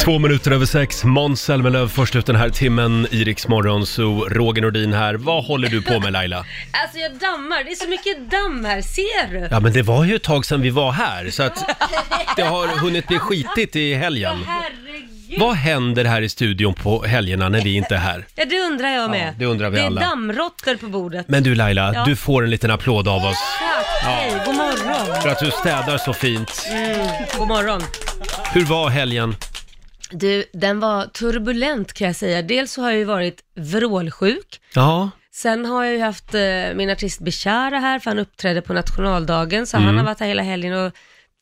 Två minuter över sex, Måns Zelmerlöw först ut den här timmen i Rix Morgon, så Roger Nordin här. Vad håller du på med Laila? Alltså jag dammar, det är så mycket damm här, ser du? Ja men det var ju ett tag sedan vi var här, så att det har hunnit bli skitigt i helgen. Herregud! Vad händer här i studion på helgerna när vi inte är här? Ja, det undrar jag med. Ja, det undrar vi det är alla. dammråttor på bordet. Men du Laila, Ja. du får en liten applåd av oss Tack, hej, god morgon. för att du städar så fint. Mm, god morgon. Hur var helgen? Du, den var turbulent kan jag säga. Dels så har jag ju varit vrålsjuk. Ja, Sen har jag ju haft eh, min artist Bishara här, för han uppträdde på nationaldagen, så Mm. han har varit här hela helgen och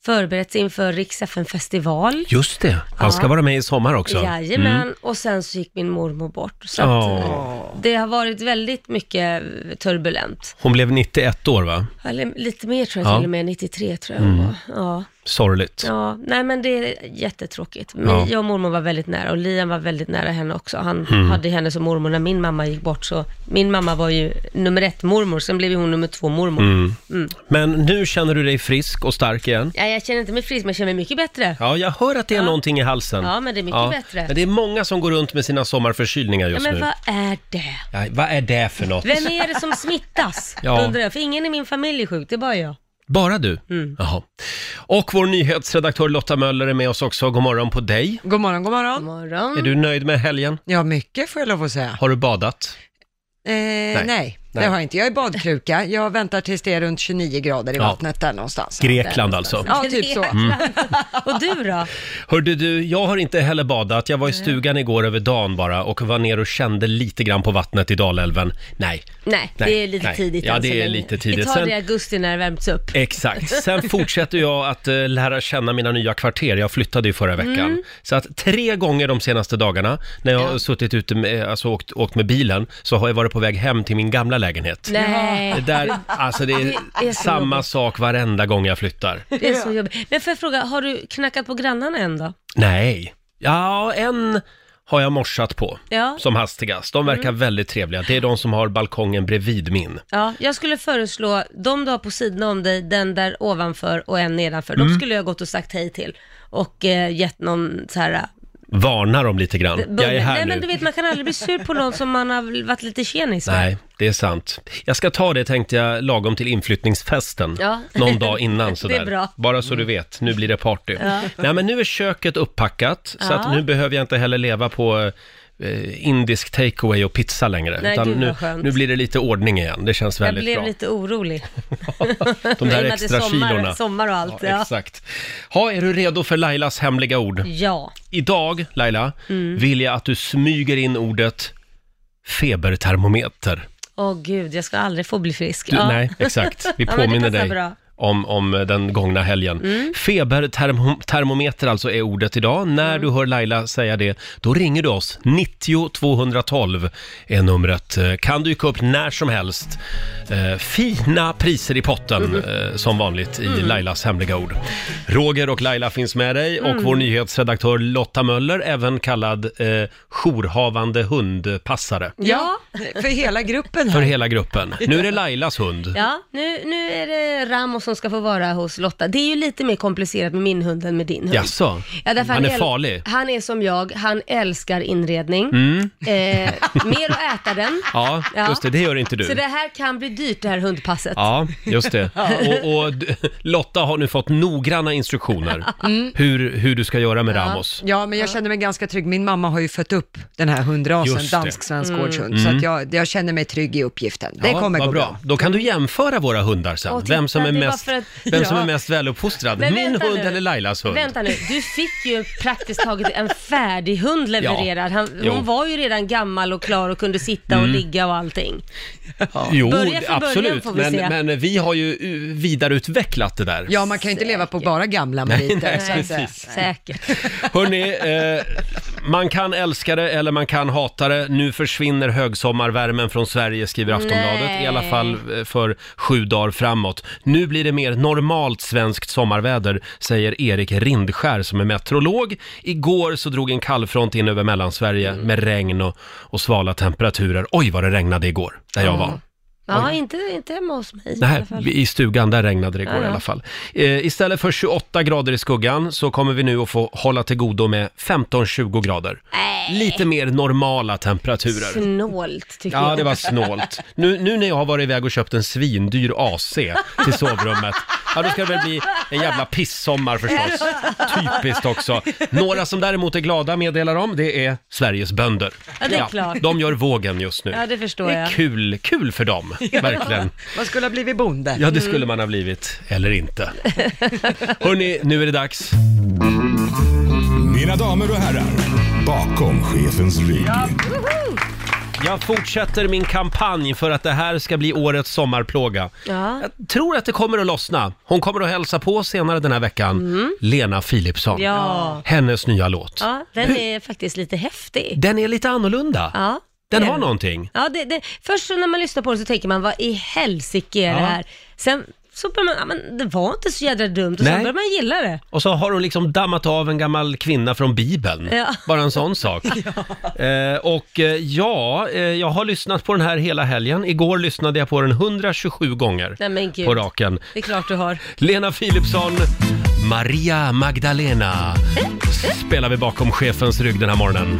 förberett sig inför Rix festival just det. Han ska Ja. vara med i sommar också. Jajamän, och sen så gick min mormor bort. Så att, Mm. Åh. eh, Det har varit väldigt mycket eh, turbulent. Hon blev 91 år va? Eller lite mer tror jag Ja. Mm. till och med, 93 tror jag hon var. Ja, Sorgligt. ja, nej men det är jättetråkigt. Men Ja. Jag och mormor var väldigt nära och Liam var väldigt nära henne också. Han Mm. hade henne som mormor när min mamma gick bort. Så min mamma var ju nummer ett mormor, sen blev ju hon nummer två mormor. Mm. Mm. Men nu känner du dig frisk och stark igen? Ja, jag känner inte mig frisk, men jag känner mig mycket bättre. Ja, jag hör att det är någonting i halsen. Ja, men det är mycket bättre. Men det är många som går runt med sina sommarförkylningar Ja, just men nu. vad är det? Ja, vad är det för något? Vem är det som smittas? Ja. Undrar jag, för ingen i min familj är sjuk, det är bara jag. Bara du? Mm. Jaha. Och vår nyhetsredaktör Lotta Möller är med oss också. God morgon på dig. God morgon, god God morgon. morgon. Är du nöjd med helgen? Ja, mycket får jag lov att säga. Har du badat? Eh, nej. nej, det har jag inte. Jag är badkruka. Jag väntar tills det är runt 29 grader i Ja. vattnet där någonstans. Grekland alltså. Ja, typ så. Och du då? Hörde du, jag har inte heller badat. Jag var i stugan igår över dagen bara och var ner och kände lite grann på vattnet i Dalälven. Nej. Nej, Nej, det är lite nej. tidigt Ja, än så det är länge. lite tidigt. Vi tar Sen- det i augusti när det värms upp. Exakt. Sen fortsätter jag att eh, lära känna mina nya kvarter. Jag flyttade ju förra veckan. Mm. Så att tre gånger de senaste dagarna när jag har suttit ute med, alltså åkt, åkt med bilen så har jag varit på väg hem till min gamla lägenhet. Det Nej, där, alltså det är, Det är så samma jobbigt. sak varenda gång jag flyttar. det är så jobbigt. Men får jag fråga, har du knackat på grannarna än då? Nej. Ja, en har jag morsat på Ja. Mm. som hastigast. De verkar väldigt trevliga. Det är de som har balkongen bredvid min. Ja, jag skulle föreslå de du har på sidan om dig, den där ovanför och en nedanför. Mm. De skulle jag gått och sagt hej till och eh, gett någon så här... eh, Varnar dem lite grann. Jag är bubbel. här Nej, nu. men du vet, man kan aldrig bli sur på någon som man har varit lite tjenis med. Nej, det är sant. Jag ska ta det tänkte jag lagom till inflyttningsfesten. Ja. Någon dag innan sådär. Det är bra. Mm. Bara så du vet, nu blir det party. Nej men nu är köket upppackat så Ja. att nu behöver jag inte heller leva på eh, indisk takeaway och pizza längre. Nej, gud, nu, vad skönt. nu blir det lite ordning igen, det känns Jag väldigt blev bra. lite orolig. De I där och med att det är extra sommar, kilorna. Sommar och allt, Ja, ja. Mm. exakt. Ha, är du redo för Lailas hemliga ord? ja. Idag, Laila, Mm. vill jag att du smyger in ordet febertermometer. Åh gud, jag ska aldrig få bli frisk. Du, ja. Nej, exakt. Vi Ja, men det påminner passar dig bra. Mm. om, om eh, den gångna helgen. Febertermometer alltså är ordet idag. När Mm. du hör Laila säga det, då ringer du oss. 90 212 är numret. Eh, Kan dyka upp när som helst. Eh, fina priser i potten Mm. eh, som vanligt i Lailas hemliga ord. Roger och Laila finns med dig Mm. och vår nyhetsredaktör Lotta Möller, även kallad eh, jourhavande hundpassare. Ja, för hela gruppen För här. hela gruppen. Nu är det Lailas hund. Ja, nu, nu är det Ramos som ska få vara hos Lotta. Det är ju lite mer komplicerat med min hund än med din hund. Jaså? Ja, därför han är äl- farlig? Mm. Han är som jag, han älskar inredning. Eh, mer att äta den. Ja, Ja. just det. Det gör inte Så det du. här kan bli dyrt det här hundpasset. Ja, just det. Och, och d- Lotta har nu fått noggranna instruktioner Mm. hur, hur du ska göra med Ramos. Ja, men jag känner mig ganska trygg. Min mamma har ju fött upp den här hundrasen, Just det. dansk-svensk gårdshund, så att jag, jag känner mig trygg i uppgiften. Det Ja, kommer vad gå Mm. bra. Då kan du jämföra våra hundar sen. Åh, titta, vem som är det var mest, för att- vem som Ja. är mest väluppfostrad. Men Min vänta hund nu. eller Lailas hund? Vänta nu, du fick ju praktiskt taget en färdig hund levererad. Han, Jo. Mm. hon var ju redan gammal och klar och kunde sitta och ligga och allting. Jo, Börja från början absolut. får vi men, se. men vi har ju uh, vidareutvecklat det där. Ja, man kan ju inte leva på bara gamla meriter. så att säga. Säkert. Hörni, eh, man kan älska det eller man kan hata det. Nu försvinner högsommarvärmen från Sverige, skriver Aftonbladet. Nej. I alla fall eh, för sju dagar framåt. Nu blir det mer normalt svenskt sommarväder, säger Erik Rindskär som är meteorolog. Igår så drog en kallfront in över Mellansverige med regn och, och svala temperaturer. Oj, vad det regnade igår, där jag var. Ja, inte, inte hemma hos mig i Nej, alla fall. i stugan, där regnade det igår Ja, i ja. alla fall. Eh, istället för 28 grader i skuggan så kommer vi nu att få hålla till godo med 15-20 grader. Lite mer normala temperaturer. Snålt tycker Ja, jag. det var snålt. Nu, nu när jag har varit iväg och köpt en svindyr AC till sovrummet, ja då ska det väl bli en jävla pissommar förstås. Typiskt också. Några som däremot är glada meddelar om, det är Sveriges bönder. Ja, det är klart. de gör vågen just nu. Ja, det förstår Det är jag. kul, kul för dem, verkligen. Man skulle ha blivit bonde. Ja, det Mm. skulle man ha blivit, eller inte. Hörni, nu är det dags. Mina damer och herrar, bakom chefens rygg. Jag fortsätter min kampanj för att det här ska bli årets sommarplåga. Ja. Jag tror att det kommer att lossna. Hon kommer att hälsa på senare den här veckan, Lena Philipsson. Mm. Ja. Hennes nya låt. ja, den är faktiskt lite häftig. Den är lite annorlunda. Ja. Ehm. Den det är har någonting. Ja, det, det, först så när man lyssnar på den så tänker man, vad i helsike är det Ja. här? Sen så börjar man, ja, men det var inte så jädra dumt och Nej. sen börjar man gilla det. Och så har hon liksom dammat av en gammal kvinna från Bibeln. Ja. Bara en sån sak. eh, och eh, ja, eh, jag har lyssnat på den här hela helgen. Igår lyssnade jag på den 127 gånger Nej men gud. på raken. Det är klart du har. Lena Philipsson, Maria Magdalena spelar vi bakom chefens rygg den här morgonen.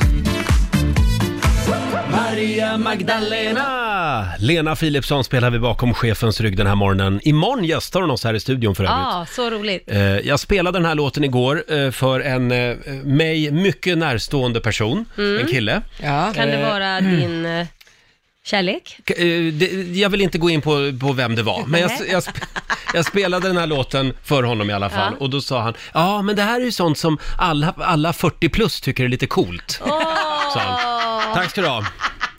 Maria Magdalena! Lena Philipsson spelar vi bakom chefens rygg den här morgonen. Imorgon gästar hon oss här i studion för övrigt. Ja, Ah, så roligt. Eh, Jag spelade den här låten igår eh, för en eh, mig mycket närstående person, Mm. en kille. Ja. Kan det vara din mm. eh, kärlek? K- eh, det- Jag vill inte gå in på, på vem det var, men jag, Nej. jag, sp- jag spelade den här låten för honom i alla fall. Ja. Och då sa han, ja men det här är ju sånt som alla, alla 40 plus tycker är lite coolt. Sa han. Tack ska du ha.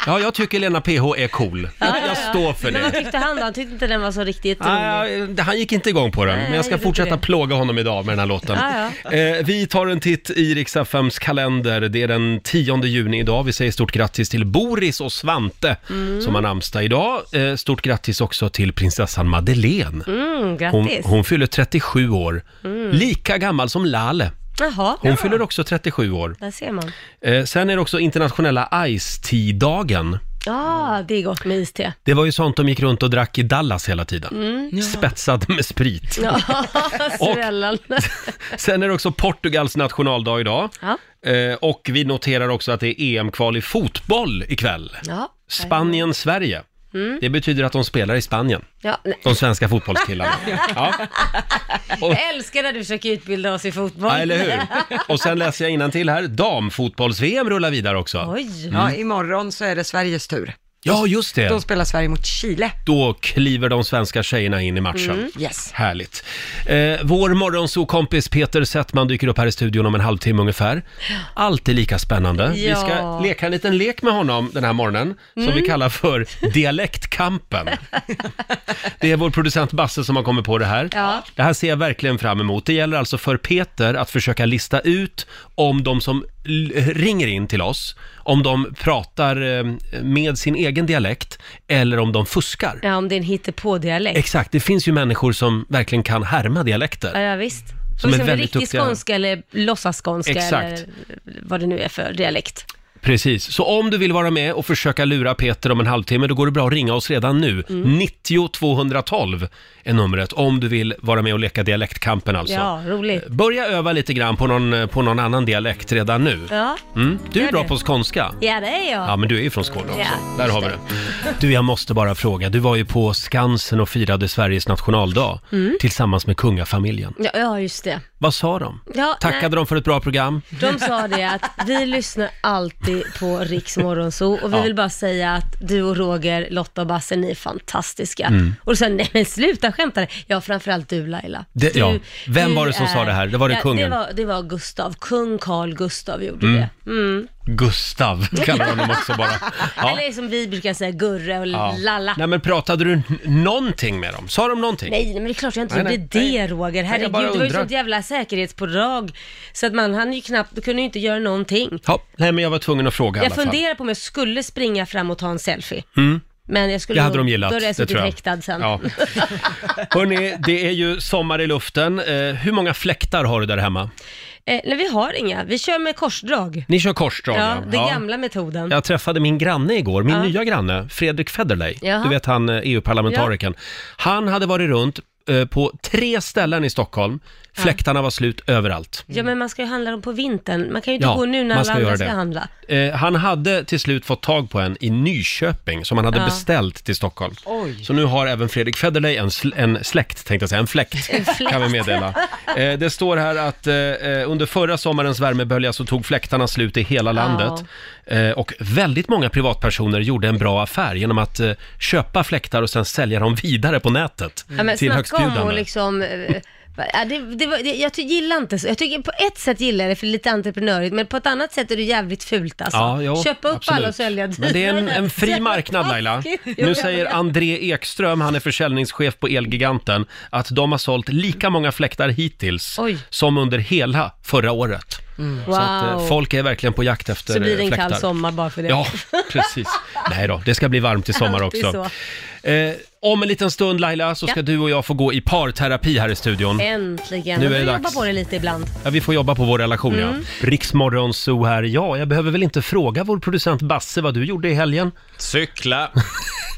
Ja, jag tycker Lena PH är cool. Jag står för Men vad det. tyckte han då? Han tyckte inte den var så riktigt rolig. Ah, ja, han gick inte igång på den, men han jag ska gjorde fortsätta inte det. plåga honom idag med den här låten. Ja, Eh, vi tar en titt i Riks-FMs kalender. Det är den 10 juni idag. Vi säger stort grattis till Boris och Svante Mm. som har namnsdag idag. Eh, stort grattis också till prinsessan Madeleine. Mm, Hon, grattis. Mm. hon fyller 37 år. Lika gammal som Lale. Jaha, Hon fyller också 37 år. där ser man. Eh, sen är det också internationella Ice-Tea-dagen. Ja, det är gott med iste. Det var ju sånt de gick runt och drack i Dallas hela tiden. Mm. Spetsad med sprit. Ja, svällande. Sen är det också Portugals nationaldag idag. Ja. Eh, och vi noterar också att det är EM-kval i fotboll ikväll. Ja. Spanien-Sverige. Mm. Det betyder att de spelar i Spanien, Ja, nej. de svenska fotbollskillarna. Ja. Och, Jag älskar när du försöker utbilda oss i fotboll. ja, eller hur? Och sen läser jag till här, damfotbolls-VM rullar vidare också. Oj. Ja, imorgon så är det Sveriges tur. Ja, just Då det. spelar Sverige mot Chile. Då kliver de svenska tjejerna in i matchen. Mm. Yes. Härligt. Eh, vår morgonsokompis Peter Settman dyker upp här i studion om en halvtimme ungefär. Alltid lika spännande. Vi Ja. Mm. ska leka en liten lek med honom den här morgonen som vi kallar för Dialektkampen. det är vår producent Basse som har kommit på det här. Ja. Det här ser jag verkligen fram emot. Det gäller alltså för Peter att försöka lista ut om de som l- ringer in till oss, om de pratar eh, med sin egen dialekt eller om de fuskar. Ja, om det är en hittepådialekt. Exakt, det finns ju människor som verkligen kan härma Ja, dialekter. ja visst. Som Som är är väldigt riktig duktiga. skånska eller låtsasskånska Exakt. eller vad det nu är för dialekt. Precis, så om du vill vara med och försöka lura Peter om en halvtimme, då går det bra att ringa oss redan nu. Mm. 90 212 är numret, om du vill vara med och leka dialektkampen alltså. Ja, roligt. Börja öva lite grann på någon, på någon annan dialekt redan nu. Ja, Mm. Du är gör bra det. på skånska. ja det är jag. Ja, men du är ju från Skåne också. Ja, Där har vi det. Du, jag måste bara fråga. Du var ju på Skansen och firade Sveriges nationaldag Mm. tillsammans med kungafamiljen. Ja, ja just det. Vad sa de? Ja, Tackade de för ett bra program? De sa det att vi lyssnar alltid på Riks Morgonzoo och vi Ja. vill bara säga att du och Roger, Lotta och Basse, ni är fantastiska. Mm. Och då sa jag, nej men sluta skämta. Ja, framförallt du Laila. Det- du, ja. Vem var det som sa det här? Det var det kungen. Mm. Det var, det var Gustav, kung Carl Gustav gjorde det. Gustav kallar de honom också bara. Ja. Eller som vi brukar säga, Gurre och Ja. Lalla. Nej men pratade du n- någonting med dem? Sa de någonting? Nej, nej, men det är klart jag inte Nej, gjorde nej, det Roger. Herregud, bara det var ju undrar. sånt jävla säkerhetspådrag. Så att man hann ju knappt, du kunde ju inte göra någonting. Ja, nej men jag var tvungen att fråga i alla Jag fall. Mm. funderar på om jag skulle springa fram och ta en selfie. Men jag skulle Det hade nog- de gillat, Då hade jag det suttit tror jag. häktad sen. Ja. Hörni, det är ju sommar i luften. Eh, hur många fläktar har du där hemma? Eh, nej, vi har inga. Vi kör med korsdrag. Ni kör korsdrag? Ja, den gamla metoden. Jag träffade min granne igår, min Ja. nya granne, Fredrik Federley. Jaha. Du vet han eh, EU-parlamentarikern. Han hade varit runt eh, på tre ställen i Stockholm. Fläktarna var slut överallt. Ja, men man ska ju handla dem på vintern. Man kan ju inte Ja, gå nu när man alla ska andra göra ska det. handla. Eh, han hade till slut fått tag på en i Nyköping som han hade Ja. beställt till Stockholm. Oj. Så nu har även Fredrik Federley en, sl- en släkt, tänkte jag säga, en fläkt, En fläkt. kan vi meddela. Eh, det står här att eh, eh, under förra sommarens värmebölja så tog fläktarna slut i hela landet. Eh, och väldigt många privatpersoner gjorde en bra affär genom att eh, köpa fläktar och sen sälja dem vidare på nätet Ja, men till snacka om högstbjudande. och liksom... eh, Ja, det, det var, det, jag ty- gillar inte så. Jag tycker på ett sätt gillar jag det för det är lite entreprenörigt, men på ett annat sätt är det jävligt fult alltså. Ja, jo, Köpa upp absolut. alla och sälja Men det är en, en fri Jävla marknad Laila. taskigt. Jo, Nu jag säger vet. André Ekström, han är försäljningschef på Elgiganten, att de har sålt lika många fläktar hittills Oj. som under hela förra året. Wow. Så att, eh, folk är verkligen på jakt efter Så blir det en eh, kall fläktar. sommar bara för det. Ja, precis. Nej då, det ska bli varmt i sommar Alltid också. Eh, om en liten stund Laila så ska du och jag få gå i parterapi här i studion. Eh. Äntligen. Nu Nu är det är jobba dags. på det lite ibland. Ja, vi får jobba på vår relation Mm. ja. Riksmorgon Zoo här. Ja, jag behöver väl inte fråga vår producent Basse vad du gjorde i helgen? Cykla.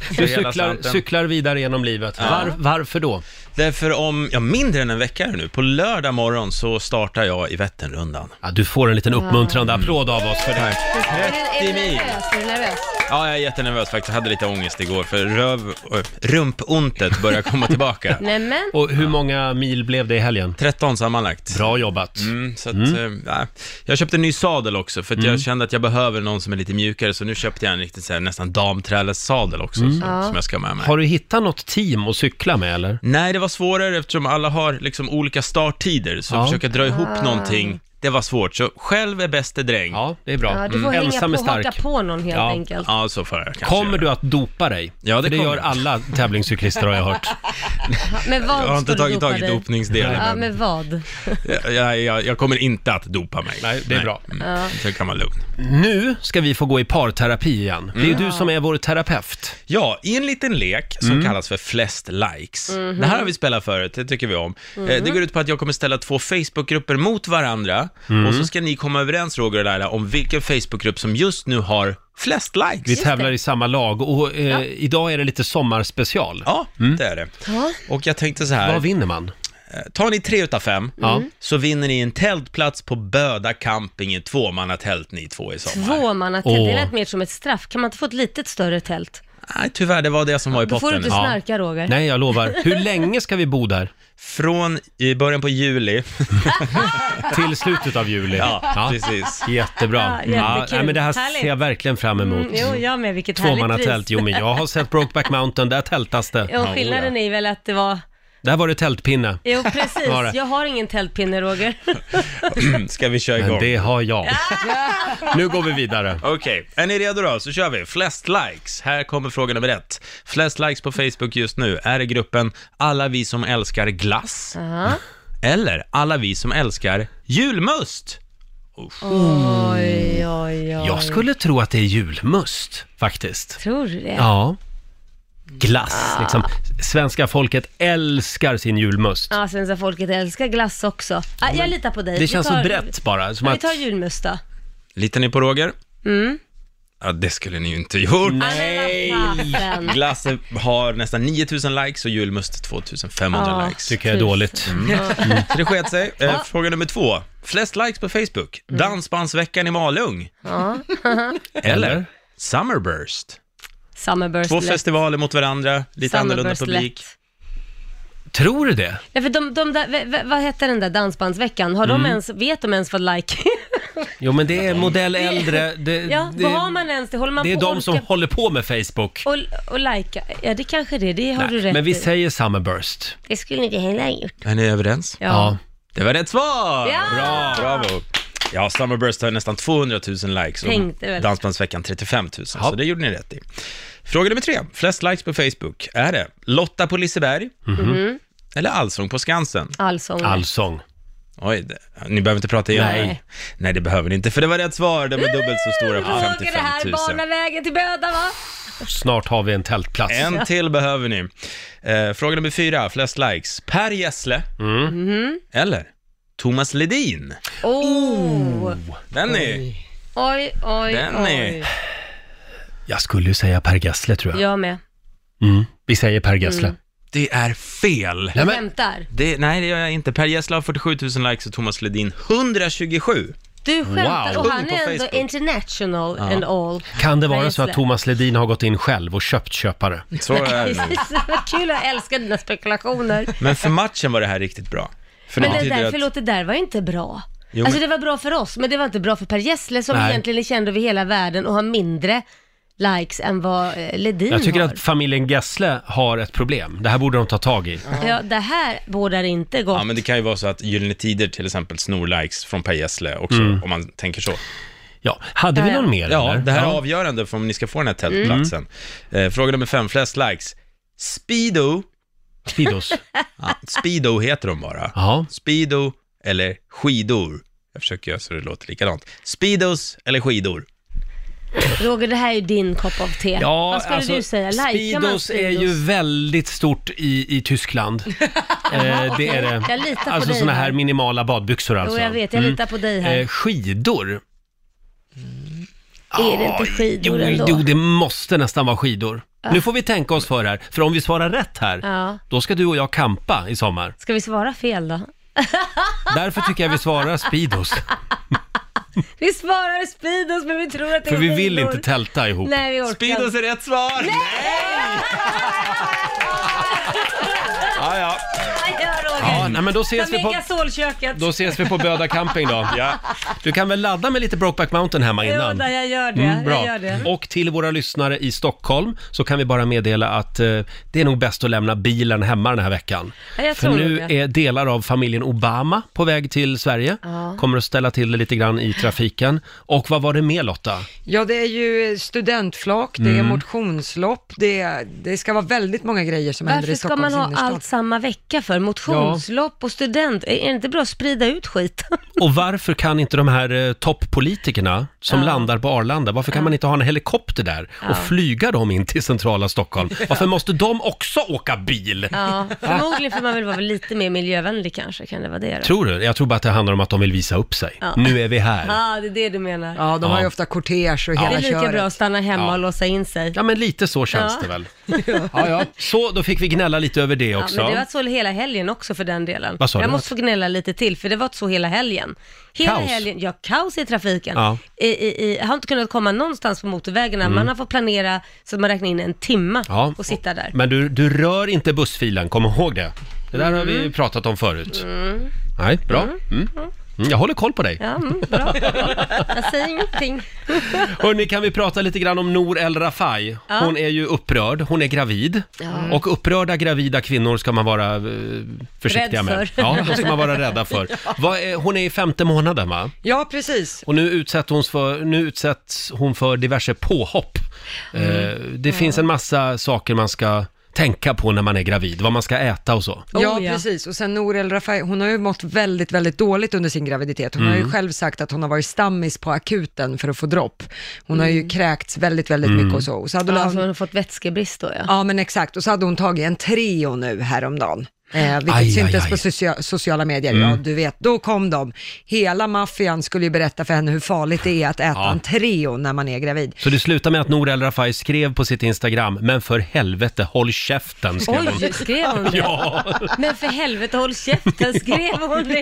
Du För hela cyklar, slanten. cyklar vidare genom livet. Var, varför då? Därför om, ja mindre än en vecka här nu, på lördag morgon så startar jag i Vätternrundan. Ja, du får en liten uppmuntrande applåd av oss för det här. Är, är du 30 mil. nervös? Är du nervös? Ja, jag är jättenervös faktiskt. Jag hade lite ångest igår för röv, ö, rumpontet börjar komma tillbaka. Nej men, Och hur många mil blev det i helgen? 13 sammanlagt. Bra jobbat. Mm, så att, eh, ja. Jag köpte en ny sadel också, för att Mm. jag kände att jag behöver någon som är lite mjukare, så nu köpte jag en riktigt så här, nästan damträlesadel också, som, Ja. som jag ska ha med mig. Mm. Har du hittat något team att cykla med eller? Nej, det var svårare eftersom alla har liksom olika starttider, så Ja. försöka dra ihop Ah. någonting, det var svårt. Så själv är bäste dräng. Ja, det är bra. ja, du får Mm. hänga Ensam är på, haka stark. på någon helt Ja. enkelt. Ja, så får jag kanske Kommer göra. du att dopa dig? Ja, det För det kommer gör jag. alla tävlingscyklister har jag hört. Men vad Jag har ska inte du tagit dopa tag i dig? dopningsdelen. Ja, men vad? Jag, jag, jag, jag kommer inte att dopa mig. Nej, det är bra. Mm. Så kan man lugn. Nu ska vi få gå i parterapi igen. Det är ju Mm. du som är vår terapeut. Ja, i en liten lek som kallas för flest likes. Mhm. Det här har vi spelat förut, det tycker vi om. Eh, Det går ut på att jag kommer ställa två Facebookgrupper mot varandra och så ska ni komma överens, Roger och Laila, om vilken Facebookgrupp som just nu har flest Vi likes. tävlar i samma lag och eh, idag är det lite sommarspecial. Ja, det är det. Ja. Och jag tänkte så Vad här, vinner man? tar ni tre utav fem, Ja. så vinner ni en tältplats på Böda camping i ett tvåmannatält ni två i sommar. Tvåmannatält, Åh. det lät mer som ett straff. Kan man inte få ett litet större tält? Nej, tyvärr, det var det som var i Då får du potten. inte snarka Roger. Nej, jag lovar. Hur länge ska vi bo där? Från i början på juli. Till slutet av juli. Ja, precis. Jättebra. Ja, jättekul. nej, men det här ser jag Härligt. verkligen fram emot. Mm, jo, jag med. Vilket härligt pris. Tvåmannatält, jo men jag har sett Brokeback Mountain, där tältas det. Jo, skillnaden är väl att det var... Där var det tältpinne. Jo, precis. Var det? Jag har ingen tältpinne, Roger. Mm, Ska vi köra igång? Men det har jag. Nu går vi vidare. Okej, är ni redo då? Så kör vi. Flest likes. Här kommer fråga nummer ett. Flest likes på Facebook just nu är i gruppen Alla vi som älskar glass Ja. eller Alla vi som älskar julmust. Oj, oj, oj. Jag skulle tro att det är julmust, faktiskt. Tror du det? Ja. Ja. Glass, Ah. liksom. Svenska folket älskar sin julmust. svenska folket älskar glass också. Ah, jag litar på dig. Det Vi känns så tar- brett bara. Som Ja, Vi att, tar julmust då. Litar ni på Roger? Mm. Ja, det skulle ni ju inte gjort. Nej! Glass har nästan 9000 likes och julmust 2500 Ja. likes. tycker jag är dåligt. Så det sket sig. Eh, Fråga nummer två. Flest likes på Facebook. Mm. Dansbandsveckan i Malung. Eller Summerburst. Summerburst Två lätt. festivaler mot varandra, lite annorlunda Summerburst publik. lätt. Tror du det? Nej, för de, de där, v, v, vad hette den där dansbandsveckan? Har Mm. de ens, vet de ens vad like är? Jo, men det är modell äldre. Det, Ja, det, vad har man ens det? Håller man det är på de som orka- håller på med Facebook. och, och likea? Ja, det kanske är det. Det har du rätt Men vi i. säger Summerburst. Det skulle inte heller ha gjort. Är ni överens? Ja. Det var rätt svar! Ja! Bra! Bravo! Ja, Summerburst har nästan 200 000 likes Tänkte väl. och Dansbandsveckan 35 000, Ja. så det gjorde ni rätt i. Fråga nummer tre, flest likes på Facebook, är det Lotta på Liseberg Mm-hmm. eller Allsång på Skansen? Allsång. Allsång. Oj, det, ni behöver inte prata igen. Nej. Nej, det behöver ni inte, för det var rätt svar. De är dubbelt så stora på Roger, det 55 här 000. banar vägen till Böda va? Snart har vi en tältplats. En till behöver Mhm. ni. Eh, fråga nummer fyra, flest likes, Per Gessle eller Thomas Ledin. Oh. Den är... Oj, oj, Den oj. är- Jag skulle ju säga Per Gessle tror jag. Jag med. Mm, vi säger Per Gessle. Mm. Det är fel. Nej, men, Skämtar? Det, nej, det gör jag inte. Per Gessle har 47 000 likes och Thomas Ledin 127. Du skämtar? Wow. Och han På är ändå Facebook. international and all. kan det vara Per så att Gessle. Thomas Ledin har gått in själv och köpt köpare? Så är det. nog. Precis, vad kul, jag älskar dina spekulationer. Men för matchen var det här riktigt bra. För Men det det betyder där att- förlåt, det där var inte bra. Jo, alltså det men- var bra för oss, men det var inte bra för Per Gessle som Nej. egentligen är känd över hela världen och har mindre likes än vad eh, Ledin Jag tycker har. att familjen Gessle har ett problem. Det här borde de ta tag i. Ja, det här bådar inte gott. Ja, men det kan ju vara så att Gyllene Tider till exempel snor likes från Per Gessle också, om man tänker så. Ja, hade vi Ja, ja. någon mer? Ja, eller? det här är avgörande för om ni ska få den här Mm. tältplatsen. Eh, fråga nummer fem, flest likes. Speedo, Fidos. ja, Speedo heter de bara. Ja. Speedo eller skidor. Jag försöker göra så det låter likadant. Speedos eller skidor? Roger, det här är ju din kopp av te. Ja, vad skulle alltså, du säga? Likar man Speedos är ju väldigt stort i, i Tyskland. eh, det är det. Jag litar på Alltså dig såna där. här minimala badbyxor Jo, alltså. jag vet, jag Mm. litar på dig här. Eh, skidor? är det inte Jo, skidor ändå? jo, det måste nästan vara skidor. Nu får vi tänka oss för här, för om vi svarar rätt här, Ja. då ska du och jag kampa i sommar. Ska vi svara fel då? Därför tycker jag vi svarar Speedos, Vi svarar Speedos, men vi tror att det för är vi vill skidor. inte tälta ihop. Nej, vi orkar Speedos inte. är rätt svar! Ja, ja. Vad gör Roger? Ja, nej, men då ses, Ta vi med på, gasolköket. då ses vi på Böda camping då. ja. Du kan väl ladda med lite Brokeback Mountain hemma Jo, innan? där, jag gör det. Mm, jag bra. gör det. Och till våra lyssnare i Stockholm så kan vi bara meddela att eh, det är nog bäst att lämna bilen hemma den här veckan. Ja, jag För tror nu nog det. är delar av familjen Obama på väg till Sverige. Ja. Kommer att ställa till det lite grann i trafiken. Och vad var det mer Lotta? Ja, det är ju studentflak, det är motionslopp, det, är, det ska vara väldigt många grejer som händer Varför i ska Stockholms man ha innerstad. allt samma vecka för? Motionslopp och student, är är det inte bra att sprida ut skiten? Och varför kan inte de här eh, toppolitikerna som Ja. landar på Arlanda, varför kan man inte ha en helikopter där och Ja. flyga dem in till centrala Stockholm? Varför måste de också åka bil? Ja, förmodligen för man vill vara väl lite mer miljövänlig kanske, kan det vara det då? Tror du? Jag tror bara att det handlar om att de vill visa upp sig. Ja. Nu är vi här. Ja, det är det du menar. Ja, de har ju Ja. ofta kortege och Det hela är lika köret. bra att stanna hemma och låsa in sig. Ja, men lite så känns det Ja. väl. Ja, ja. Så, då fick vi gnälla lite över det Ja, också. men det var så hela helgen också för den delen. Vad sa jag du? måste få gnälla lite till, för det var så hela helgen. Hela Kaos. helgen, ja kaos i trafiken. Ja. Mm. I, i, i, jag har inte kunnat komma någonstans på motorvägarna. Man har fått planera så att man räknar in en timma Ja. och sitta där. Men du, du rör inte bussfilen, kom ihåg det. Det där har Mm. vi pratat om förut. Nej, bra. Mm. Mm, Jag håller koll på dig. Ja, mm, bra. Jag säger ingenting. Hörni, kan vi prata lite grann om Nour El Rafai? Ja. Hon är ju upprörd, hon är gravid. Och upprörda gravida kvinnor ska man vara eh, försiktiga Rädd med. för. Ja, de ska man vara rädda för. Vad är, hon är i femte månaden va? Ja, precis. Och nu utsätts hon för, nu utsätts hon för diverse påhopp. Mm. Eh, det finns en massa saker man ska tänka på när man är gravid, vad man ska äta och så. Oh, ja, ja. precis. Och sen Nour El Rafai, hon har ju mått väldigt, väldigt dåligt under sin graviditet. Hon har ju själv sagt att hon har varit stammis på akuten för att få dropp. Hon har ju kräkts väldigt, väldigt mycket och så. Och så hade Mm. Ja, hon, för Alltså, hon har fått vätskebrist då ja. Ja, men exakt. Och så hade hon tagit en Treo nu häromdagen. Eh, vilket Aj, syntes aj, Mm. aj. på socia- sociala medier. Ja, du vet, då kom de. Hela maffian skulle ju berätta för henne hur farligt det är att äta Ja. en Treo när man är gravid. Så det slutade med att Nour El Rafai skrev på sitt Instagram, men för helvete håll käften skrev hon. Oj, skrev hon det? Ja. Men för helvete håll käften, skrev hon det?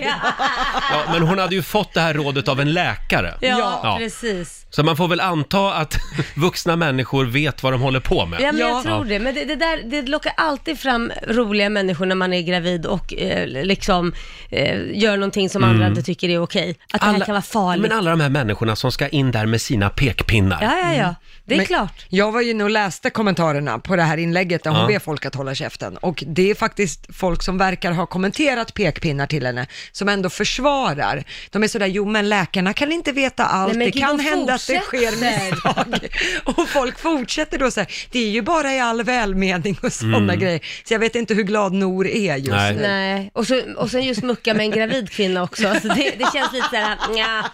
ja, men hon hade ju fått det här rådet av en läkare. Ja, Ja. precis. Så man får väl anta att vuxna människor vet vad de håller på med. Ja, men Ja. jag tror det. Men det, det, där, det lockar alltid fram roliga människor när man är gravid och eh, liksom eh, gör någonting som andra inte tycker är okej. Att det här kan vara farligt. Mm. Men alla de här människorna som ska in där med sina pekpinnar. Ja, ja, ja. Det är Men klart. Jag var inne och läste kommentarerna på det här inlägget där hon Ja. ber folk att hålla käften. Och det är faktiskt folk som verkar ha kommenterat pekpinnar till henne, som ändå försvarar. De är sådär, jo men läkarna kan inte veta allt, Nej, men det gud, kan de hända att det sker fortsätter." misstag. och folk fortsätter då så här, det är ju bara i all välmening och sådana grejer. Så jag vet inte hur glad Nor är det just Mm. Nej. nu. Nej, och, så, och sen just mucka med en gravid kvinna också. Så det, det känns lite såhär, nja.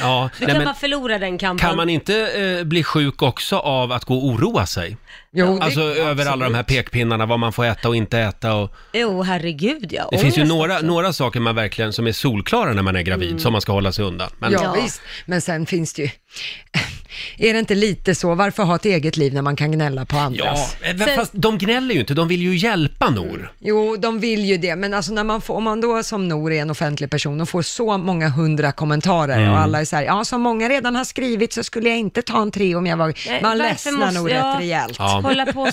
Ja, Du nej, kan men bara förlora den kampen. kan man inte eh, bli sjuk också av att gå och oroa sig? Jo, det- Alltså över alla de här absolut. pekpinnarna, vad man får äta och inte äta och... Jo, herregud ja. Det finns ju Ångest några, också. Mm. några saker man verkligen, som är solklara när man är gravid, som man ska hålla sig undan. Men, Ja, Ja. visst, men sen finns det ju... Är det inte lite så, varför ha ett eget liv när man kan gnälla på andras? eh, Sen- Mm. fast de gnäller ju inte, de vill ju hjälpa Nor. Jo, de vill ju det, men alltså när man får, om man då som Nor är en offentlig person och får så många hundra kommentarer Mm. och alla är så här, ja som många redan har skrivit så skulle jag inte ta en tre om jag var... Nej, Man varför ledsnar måste nog jag rätt rejält. Ja. Hålla på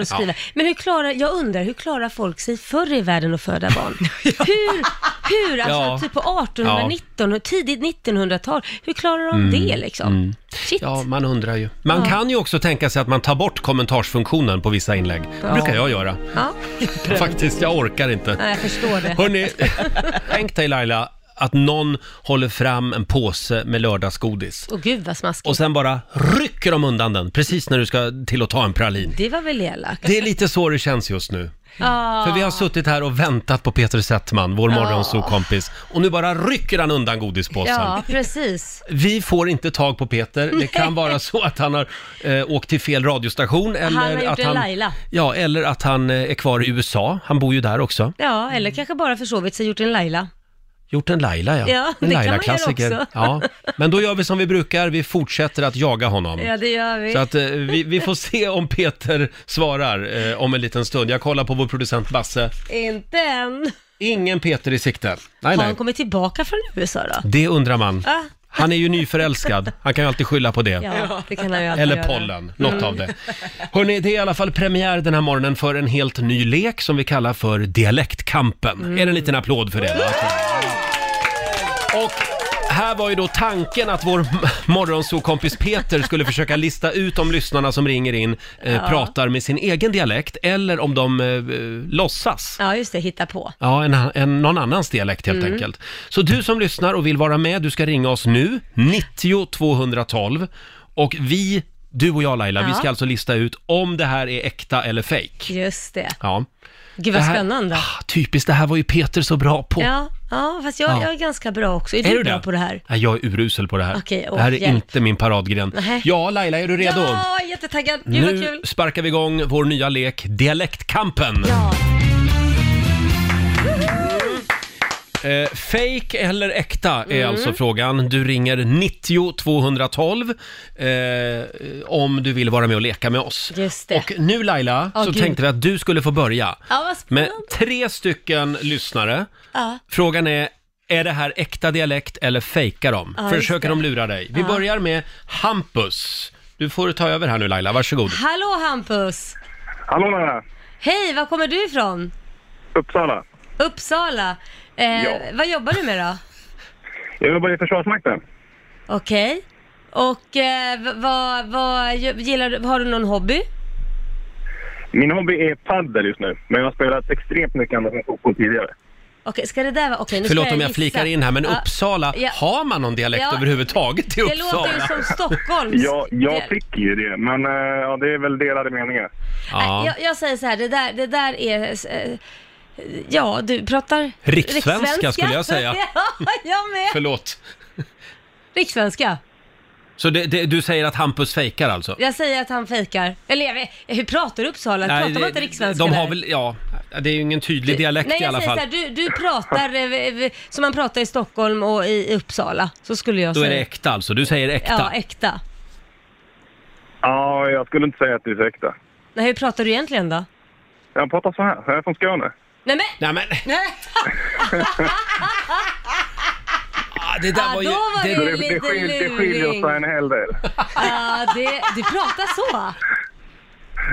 och skriva. Men hur klarar, jag undrar, hur klarar folk sig förr i världen att föda barn? Hur, hur alltså Ja. typ på 1819 och tidigt 1900-tal, hur klarar de det liksom? Shit. Mm. Ja, man undrar ju. Man kan ju också tänka sig att man tar bort kommentarsfunktionen på vissa inlägg. Det brukar jag göra. Ja. Faktiskt, jag orkar inte. Nej, jag förstår det. Hörni, tänk dig Laila att någon håller fram en påse med lördagsgodis Åh gud vad smaskigt. och sen bara rycker de undan den precis när du ska till att ta en pralin. Det var väl elakt? Det är lite så det känns just nu. Ja. För Ah. vi har suttit här och väntat på Peter Settman, vår morgonsokompis. Och nu bara rycker han undan godispåsen. Ja, precis. Vi får inte tag på Peter. Det kan vara så att han har eh, åkt till fel radiostation. Eller har gjort att en han, Laila. Ja, eller att han eh, är kvar i USA. Han bor ju där också. Ja, eller kanske bara försovit sig och gjort en Laila. Gjort en Laila, ja. Ja, det en kan man göra också. Ja. Men då gör vi som vi brukar. Vi fortsätter att jaga honom. Ja, det gör vi. Så att eh, vi, vi får se om Peter svarar eh, om en liten stund. Jag kollar på vår producent Basse. Inte än. Ingen Peter i sikte. Nej, Har nej. han kommit tillbaka från USA då? Det undrar man. Ah. Han är ju nyförälskad. Han kan ju alltid skylla på det. Ja, det kan han ju alltid Eller göra. pollen, något av det. Hörrni, det är i alla fall premiär den här morgonen för en helt ny lek som vi kallar för Dialektkampen. Är det en liten applåd för det? Och här var ju då tanken att vår m- morgonsokompis Peter skulle försöka lista ut om lyssnarna som ringer in eh, pratar med sin egen dialekt eller om de eh, eh, låtsas. Ja, just det, hitta på. Ja, en, en, någon annans dialekt helt Mm. enkelt. Så du som lyssnar och vill vara med, du ska ringa oss nu, 90 212. Och vi, du och jag Laila, Ja. vi ska alltså lista ut om det här är äkta eller fejk. Just det. Ja. Gud Det vad här- spännande. Ah, typiskt, det här var ju Peter så bra på. Ja, ja fast jag, Ja. jag är ganska bra också. Är, du bra på det här? Nej, jag är urusel på det här. Okej, åh, det här är hjälp. inte min paradgren. Nähä. Ja, Laila, är du redo? Ja, jag är jättetaggad. Gud vad Nu kul. sparkar vi igång vår nya lek Dialektkampen. Ja. Eh, fake eller äkta är Mm. alltså frågan. Du ringer 90 212 eh, om du vill vara med och leka med oss. Just det. Och nu Laila, Ja, så gud. tänkte vi att du skulle få börja. Ja, vad Med spännande. tre stycken lyssnare. Ja. Frågan är, är det här äkta dialekt eller fejkar de? Ja, Försöker de just det. lura dig? Vi börjar med Hampus. Du får ta över här nu Laila, varsågod. Hallå Hampus! Hallå där! Hej, var kommer du ifrån? Uppsala. Uppsala. Eh, Ja. Vad jobbar du med då? Jag jobbar i Försvarsmakten. Okej. Och eh, v- vad, vad gillar du, har du någon hobby? Min hobby är paddel just nu, men jag har spelat extremt mycket andra fotboll tidigare. Okej, ska det där vara... Okej, nu Förlåt ska om jag gissa. flikar in här, men Ja. Uppsala, Ja. har man någon dialekt Ja. överhuvudtaget i Det Uppsala? låter ju som Stockholms... Jag, jag Det- tycker ju det, men eh, ja, det är väl delade meningar. Ja. Nej, Jag, jag säger så här, det där, det där är... eh, Ja, du pratar... Rikssvenska skulle jag säga. ja, jag med. Förlåt. Rikssvenska. Så det, det, du säger att Hampus fejkar alltså? Jag säger att han fejkar. Eller jag vet, hur pratar Uppsala? pratar man inte rikssvenska De har där? väl, ja, det är ju ingen tydlig dialekt Nej, i jag alla säger fall. så här, du, du pratar eh, v- v- som man pratar i Stockholm och i Uppsala. Så skulle jag Då är säga. det äkta alltså, du säger äkta. Ja, äkta. Ja, jag skulle inte säga att det är så äkta. Nej, hur pratar du egentligen då? Jag pratar så här, jag är från Skåne. Nej men, Nej men... ah, det där ah, var ju... då var det, det, Det, det det, lite skil, det skiljer luring. sig en hel del. Ah, det, du pratar så?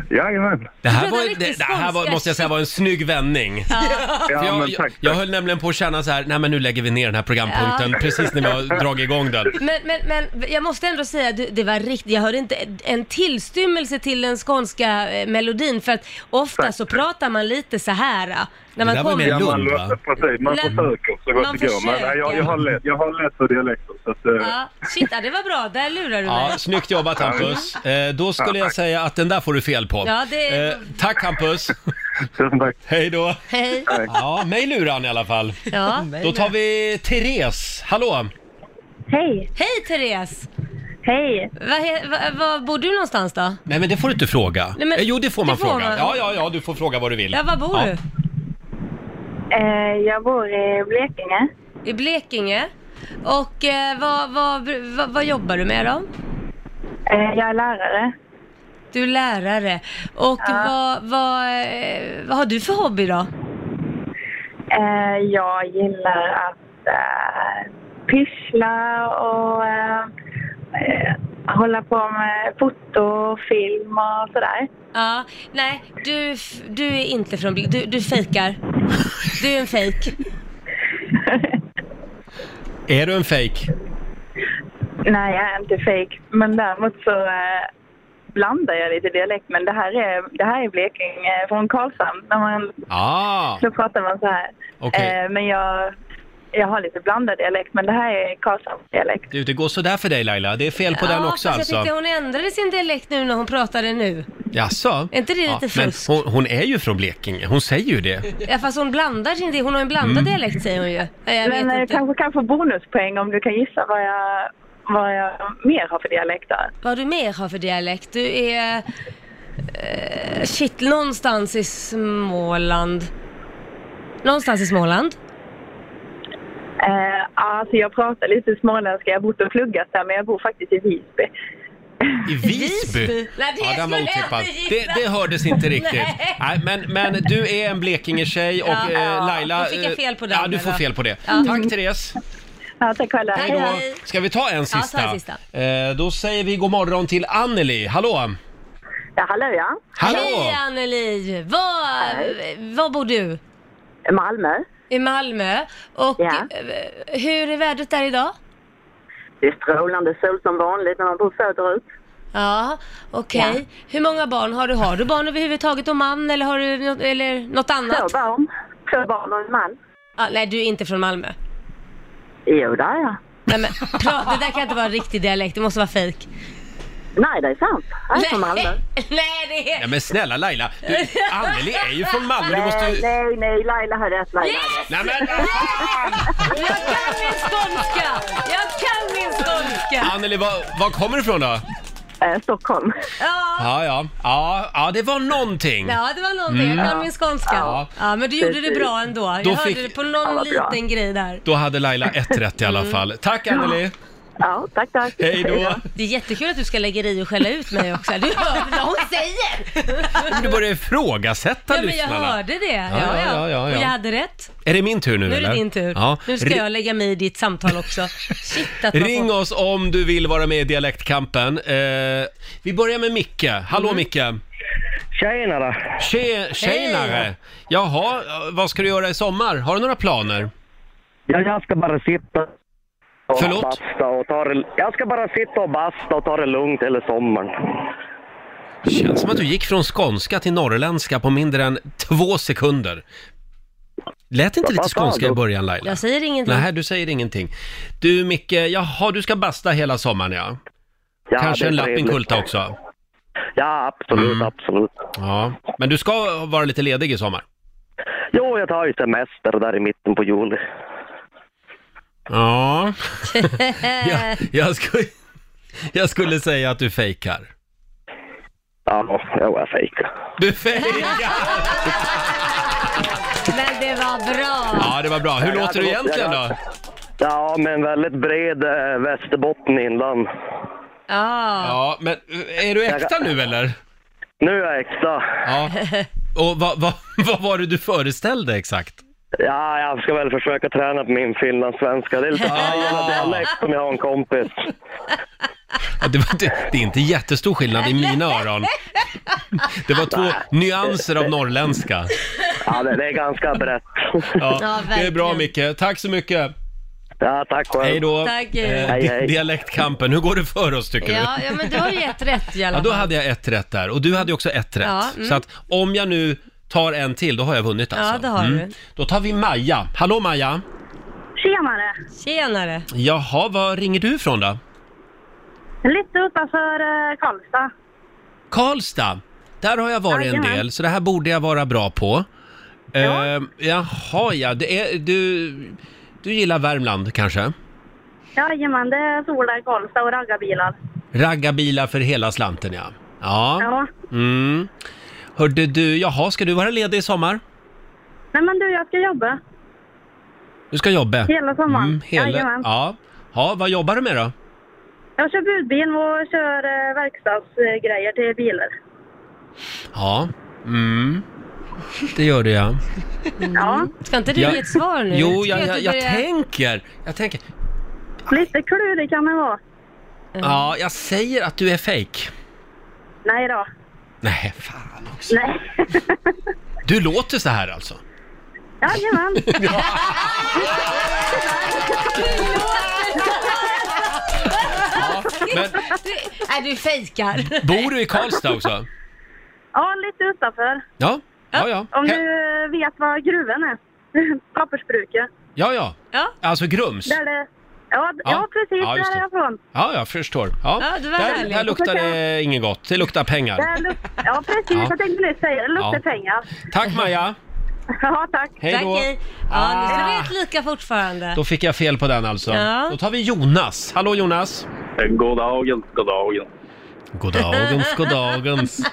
Jajamän. det här, pratar var, riktig det, det här var, skånska. måste jag säga var en snygg vändning. Ja, jag, men jag, tack. jag tack. höll nämligen på att känna så här, nej men nu lägger vi ner den här programpunkten precis när vi har dragit igång den. Men, men, men jag måste ändå säga, du, det var riktigt, jag hörde inte en tillstymmelse till den skånska eh, melodin för att ofta så pratar man lite så här eh, när där man var kommer. mer- Ja, man, Lund, va? låter- precis, man Nej. försöker så gott Man det går. Men nej, jag, jag har lätt- jag har lätt för dialekter. Så att, eh, Ja, shit, ja, det var bra, där lurar du Ja, mig. snyggt jobbat Hampus. Eh, då skulle jag säga att den där får du fel på. Ja, det- eh, tack Hampus. Tusen tack. Hej då! Hej. Ja, mig lurar han i alla fall. Ja. Då tar vi Therese. Hallå! Hej! Hej Therese! Hej! Var, var, bor du någonstans då? Nej, men det får du inte fråga. Nej, men- Eh, jo, det får man det får fråga. man. Ja, ja, ja, du får fråga vad du vill. Ja, var bor Ja. du? Eh, jag bor i Blekinge. I Blekinge. Och eh, vad, vad, vad, vad jobbar du med då? Eh, jag är lärare. Du är lärare. Och vad, vad, eh, vad har du för hobby då? Eh, jag gillar att eh, pyssla och eh, eh, hålla på med foto, film och sådär. Ja, nej, du, f- du är inte från Blekinge. Du, du fejkar. Du är en fejk. Är du en fejk? Nej, jag är inte fake. Men däremot så eh, blandar jag lite dialekt. Men det här är, det här är Blekinge, från Karlshamn. När man, Ah, då pratar man så här. Okej. Eh, men jag, jag har lite blandad dialekt, men det här är Karlshamnsdialekt. du, det går sådär för dig Laila. Det är fel på den ja, också fast alltså. jag tyckte hon ändrade sin dialekt nu när hon pratade nu. Jaså? Är inte det lite men fusk? hon, hon är ju från Blekinge. Hon säger ju det. Ja, fast hon blandar sin dialekt. Hon har en blandad Mm. dialekt säger hon ju. Ja, Jag vet Men eh, inte. kanske kan få bonuspoäng om du kan gissa vad jag, vad jag mer har för dialekter. Vad du mer har för dialekt? Du är... eh, shit, någonstans i Småland. Någonstans i Småland. Eh, alltså jag pratar lite småländska, jag har bott och pluggat där, men jag bor faktiskt i Visby. I Visby? Nej, det Ja, den var skulle jag otippad. inte Det, gissa. det hördes inte riktigt. Nej. Nej, men, men du är en Blekinge-tjej och Ja. eh, Laila... Då fick jag eh, fel på den, Ja, du får eller? fel på det. Ja. Tack Therese. Ja, tack själva. Tack. Då Hej, hej. ska vi ta en en sista. sista. Eh, då säger vi god morgon till Anneli. Hallå! Ja, hallå ja. Hej Anneli! Var, var bor du? Malmö. I Malmö. Och Ja. eh, hur är vädret där idag? Det är strålande sol som vanligt när man bor söderut. Ja, okej. Ja. Hur många barn har du? Har du barn överhuvudtaget och man eller har du något, eller något annat? barn. Två barn och en man. Ah, nej, du är inte från Malmö. Jo, det är jag. Nej, men, pra, det där kan inte vara riktig dialekt, det måste vara fejk. Nej, det är sant. Jag är från Malmö. Nej, det är... Ja, men snälla Laila, du, Anneli är ju från Malmö. Du måste Nej, ju... Eh, nej, nej, Laila har rätt. Laila. Nej men vad fan! Jag kan min skånska! Jag kan min skånska! Anneli, var, var kommer du ifrån då? Eh, Stockholm. Ja, Ja, ja. Ja, ja det var någonting. ja det var någonting. Jag kan min skånska. Ja, Mm. Ja. men du gjorde det bra ändå. Jag Då hörde fick- det på Ja, någon vad bra. liten grej där. Då hade Laila ett rätt i alla fall. Tack Anneli! Ja, tack, tack. Hej då! Det är jättekul att du ska lägga dig i och skälla ut mig också. Du hör vad hon säger! Men Du börjar ifrågasätta Ja, men jag lyssnarna. hörde det. Ja, ja, ja, ja, ja. ja. Och jag hade rätt. Är det min tur nu Nu är eller? det din tur. Ja. Nu ska Ri- jag lägga mig i ditt samtal också. Shit att man Ring får... oss om du vill vara med i Dialektkampen. Eh, vi börjar med Micke. Hallå Micke! Tjenare! Tje- Tjenare! Mm. Hej. Jaha, vad ska du göra i sommar? Har du några planer? Ja, jag ska bara sitta och Förlåt? basta och ta det... Jag ska bara sitta och basta och ta det lugnt hela sommaren. Känns som att du gick från skånska till norrländska på mindre än två sekunder. Lät inte lite Vad fan, skånska i då? början Laila? Jag säger ingenting. Nej, du säger ingenting. Du Micke, jaha, du ska basta hela sommaren ja. Ja, Kanske det är en lapp i en trevligt. kulta också. Mm. Ja, absolut, absolut. Ja, men du ska vara lite ledig i sommar. Jo, jag tar ju semester där i mitten på juli. Ja, jag, jag, skulle, jag skulle säga att du fejkar. Ja, jo, jag fejkar. Du fejkar! Men det var bra. Ja, det var bra. Hur låter du egentligen då? Ja, men väldigt bred eh, Västerbotten inland. Ja. Ja, men eh, är du äkta nu eller? Nu är jag äkta. Ja. Och vad, vad, vad var det du föreställde exakt? Ja, jag ska väl försöka träna på min finlandssvenska. Det är lite Pajala dialekt som jag har en kompis. Ja, det, var, det, det är inte jättestor skillnad i mina öron. Det var två nyanser av norrländska. Ja, det, det är ganska brett. Ja, Ja, det är bra verkligen. Micke. Tack så mycket. Ja, tack själv. Hej då. Tack, hej. Eh, Hej, hej. Dialektkampen, hur går det för oss tycker du? Ja, ja, men du har ju ett rätt i alla Ja, fall. då hade jag ett rätt där och du hade ju också ett rätt. Ja, mm. Så att om jag nu tar en till, då har jag vunnit alltså. Ja, det har du. Då tar vi Maja. Hallå Maja! Tjenare! Tjenare. Jaha, var ringer du ifrån då? Lite utanför eh, Karlstad. Karlstad? Där har jag varit en Jajamän. del, så det här borde jag vara bra på. Ja. jaha, ja. Det är, du, du gillar Värmland kanske? Jajamän, det är solar, Karlstad och raggarbilar. Raggarbilar för hela slanten, ja. Ja. Ja. Mm. Hörde du, jaha, ska du vara ledig i sommar? Nej men du, jag ska jobba Du ska jobba? hela sommaren. Mm, hela, Jajamän. ja. ja, vad jobbar du med då? Jag kör budbil och kör eh, verkstadsgrejer till bilar. Ja, mm. det gör du Mm. ja. Ja, Ska inte du Jag- ge ett svar nu? Jo, jag, Ska jag, inte jag börja- tänker, jag tänker, lite klurig kan det vara. ja, jag säger att du är fake. Nej då. Nej, fan också. Nej. Du låter så här alltså? Jajamän. Men Du- Nej, du fejkar. bor du i Karlstad också? Ja, lite utanför. Ja, ja, ja. Om He- du eh, vet vad gruvan är. Pappersbruket. Ja, ja. Ja. Alltså Grums? Där det... ja, d- Ja. ja, precis. Ja, just där är det. jag från. Ja, jag förstår. Ja, Ja, du var där, ärlig. där luktar det inget gott. Det luktar pengar. Där luk- ja, precis. Ja. Jag tänkte nyss säga det. luktar Ja. pengar. Tack Maja! Ja, tack. Hej Tack, då! hej. Ja, nu står Ah. det helt lika fortfarande. Då fick jag fel på den alltså. Ja. Då tar vi Jonas. Hallå Jonas! God dagen, god dagen. Goddagens, goddagens.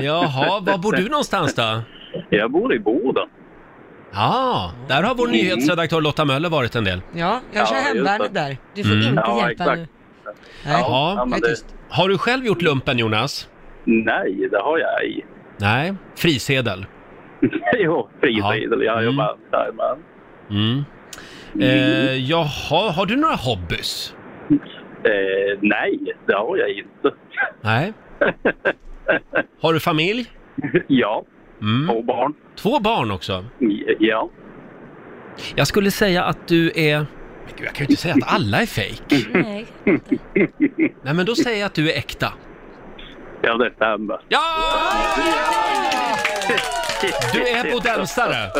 Jaha, var bor du någonstans då? Jag bor i Boden. Ja, där har vår nyhetsredaktör Lotta Möller varit en del. Ja, jag kör Ja, just hemvärnet det. där. Du får Mm. inte Ja, hjälpa exakt. nu. Nej. Ja, men det är det, tyst. Har du själv gjort lumpen Jonas? nej, det har jag ej. Nej, frisedel. jo, frisidel. Jag Mm. jobbar jajamän. Mm. Eh, jaha, har du några hobbys? Eh, nej, det har jag inte. Nej. Har du familj? ja, Mm. och barn. Två barn också. Ja. Jag skulle säga att du är... Men gud, jag kan ju inte säga att alla är fejk. Nej. Nej, men då säger jag att du är äkta. Ja, det stämmer. Ja! Du är bodensare.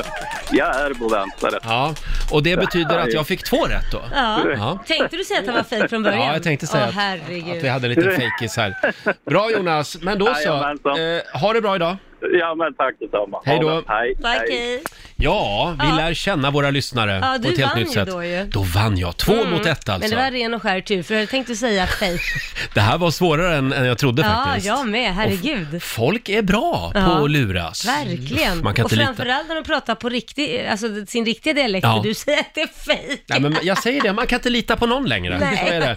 Jag är bodensare. Ja, och det betyder att jag fick två rätt då. Ja. Ja. Tänkte du säga att han var fejk från början? Ja, jag tänkte säga Åh, att- herregud. Att vi hade lite fejkis här. Bra Jonas, men då så. Jajamensan. Eh, ha det bra idag. Ja, men tack detsamma. Ha Hej då. det. Hej. Tack, hej. hej. Alltså- Ja, vi Ja. lär känna våra lyssnare Ja, på du ett helt vann nytt ju sätt. då ju. Mm. Då vann jag. Två mot ett alltså. Men det var ren och skär tur, för jag tänkte säga fejk. Det här var svårare än, än jag trodde Ja, faktiskt. jag med. Herregud. Folk är bra på Ja. att luras. Verkligen. Man kan och inte lita. framförallt när de pratar på riktig, alltså sin riktiga dialekt Ja. och du säger att det är fejk. Nej, men jag säger det, man kan inte lita på någon längre. Nej. Så är det.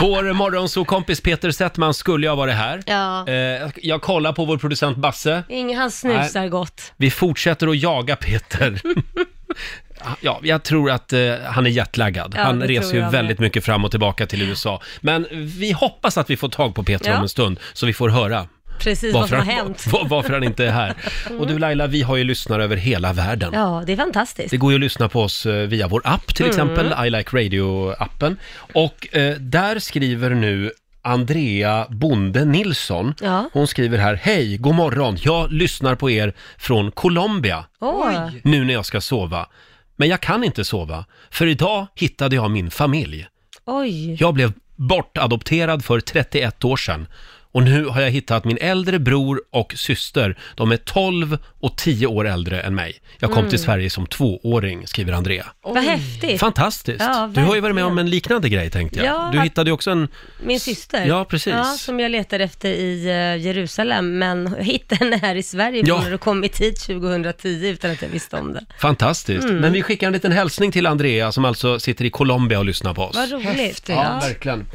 Vår morgonsokompis Peter Settman skulle ju ha varit här. Ja. Eh, jag kollar på vår producent Basse. Ingen, han snusar gott. Vi fortsätter att jaga Peter. Ja, jag tror att eh, han är jetlaggad. Ja, han det reser tror ju jag väldigt mycket fram och tillbaka till USA. Men vi hoppas att vi får tag på Peter Ja. om en stund, så vi får höra Precis vad som har hänt. Mm. var, varför han inte är här. Och du Laila, vi har ju lyssnare över hela världen. Ja, Mm. det är fantastiskt. Det går ju att lyssna på oss eh, via vår app till exempel, I Like Radio-appen. Och eh, där skriver nu Andrea Bonde Nilsson. Ja. Hon skriver här, hej, god morgon, jag lyssnar på er från Colombia Åh. nu när jag ska sova. Men jag kan inte sova, för idag hittade jag min familj. Oj. Jag blev bortadopterad för 31 år sedan. Och nu har jag hittat min äldre bror och syster. De är 12 och 10 år äldre än mig. Jag kom Mm. till Sverige som tvååring, skriver Andrea. Vad häftigt. Fantastiskt! Ja, du har ju varit med verkligen. om en liknande grej tänkte jag. Ja, du att- hittade ju också en... Min syster. Ja, precis. Ja, som jag letade efter i eh, Jerusalem, men hittade henne här i Sverige Ja. ja. och kommit hit 2010 utan att jag visste om det. Fantastiskt! Mm. Men vi skickar en liten hälsning till Andrea som alltså sitter i Colombia och lyssnar på oss. Vad roligt. Häftigt. Ja, verkligen.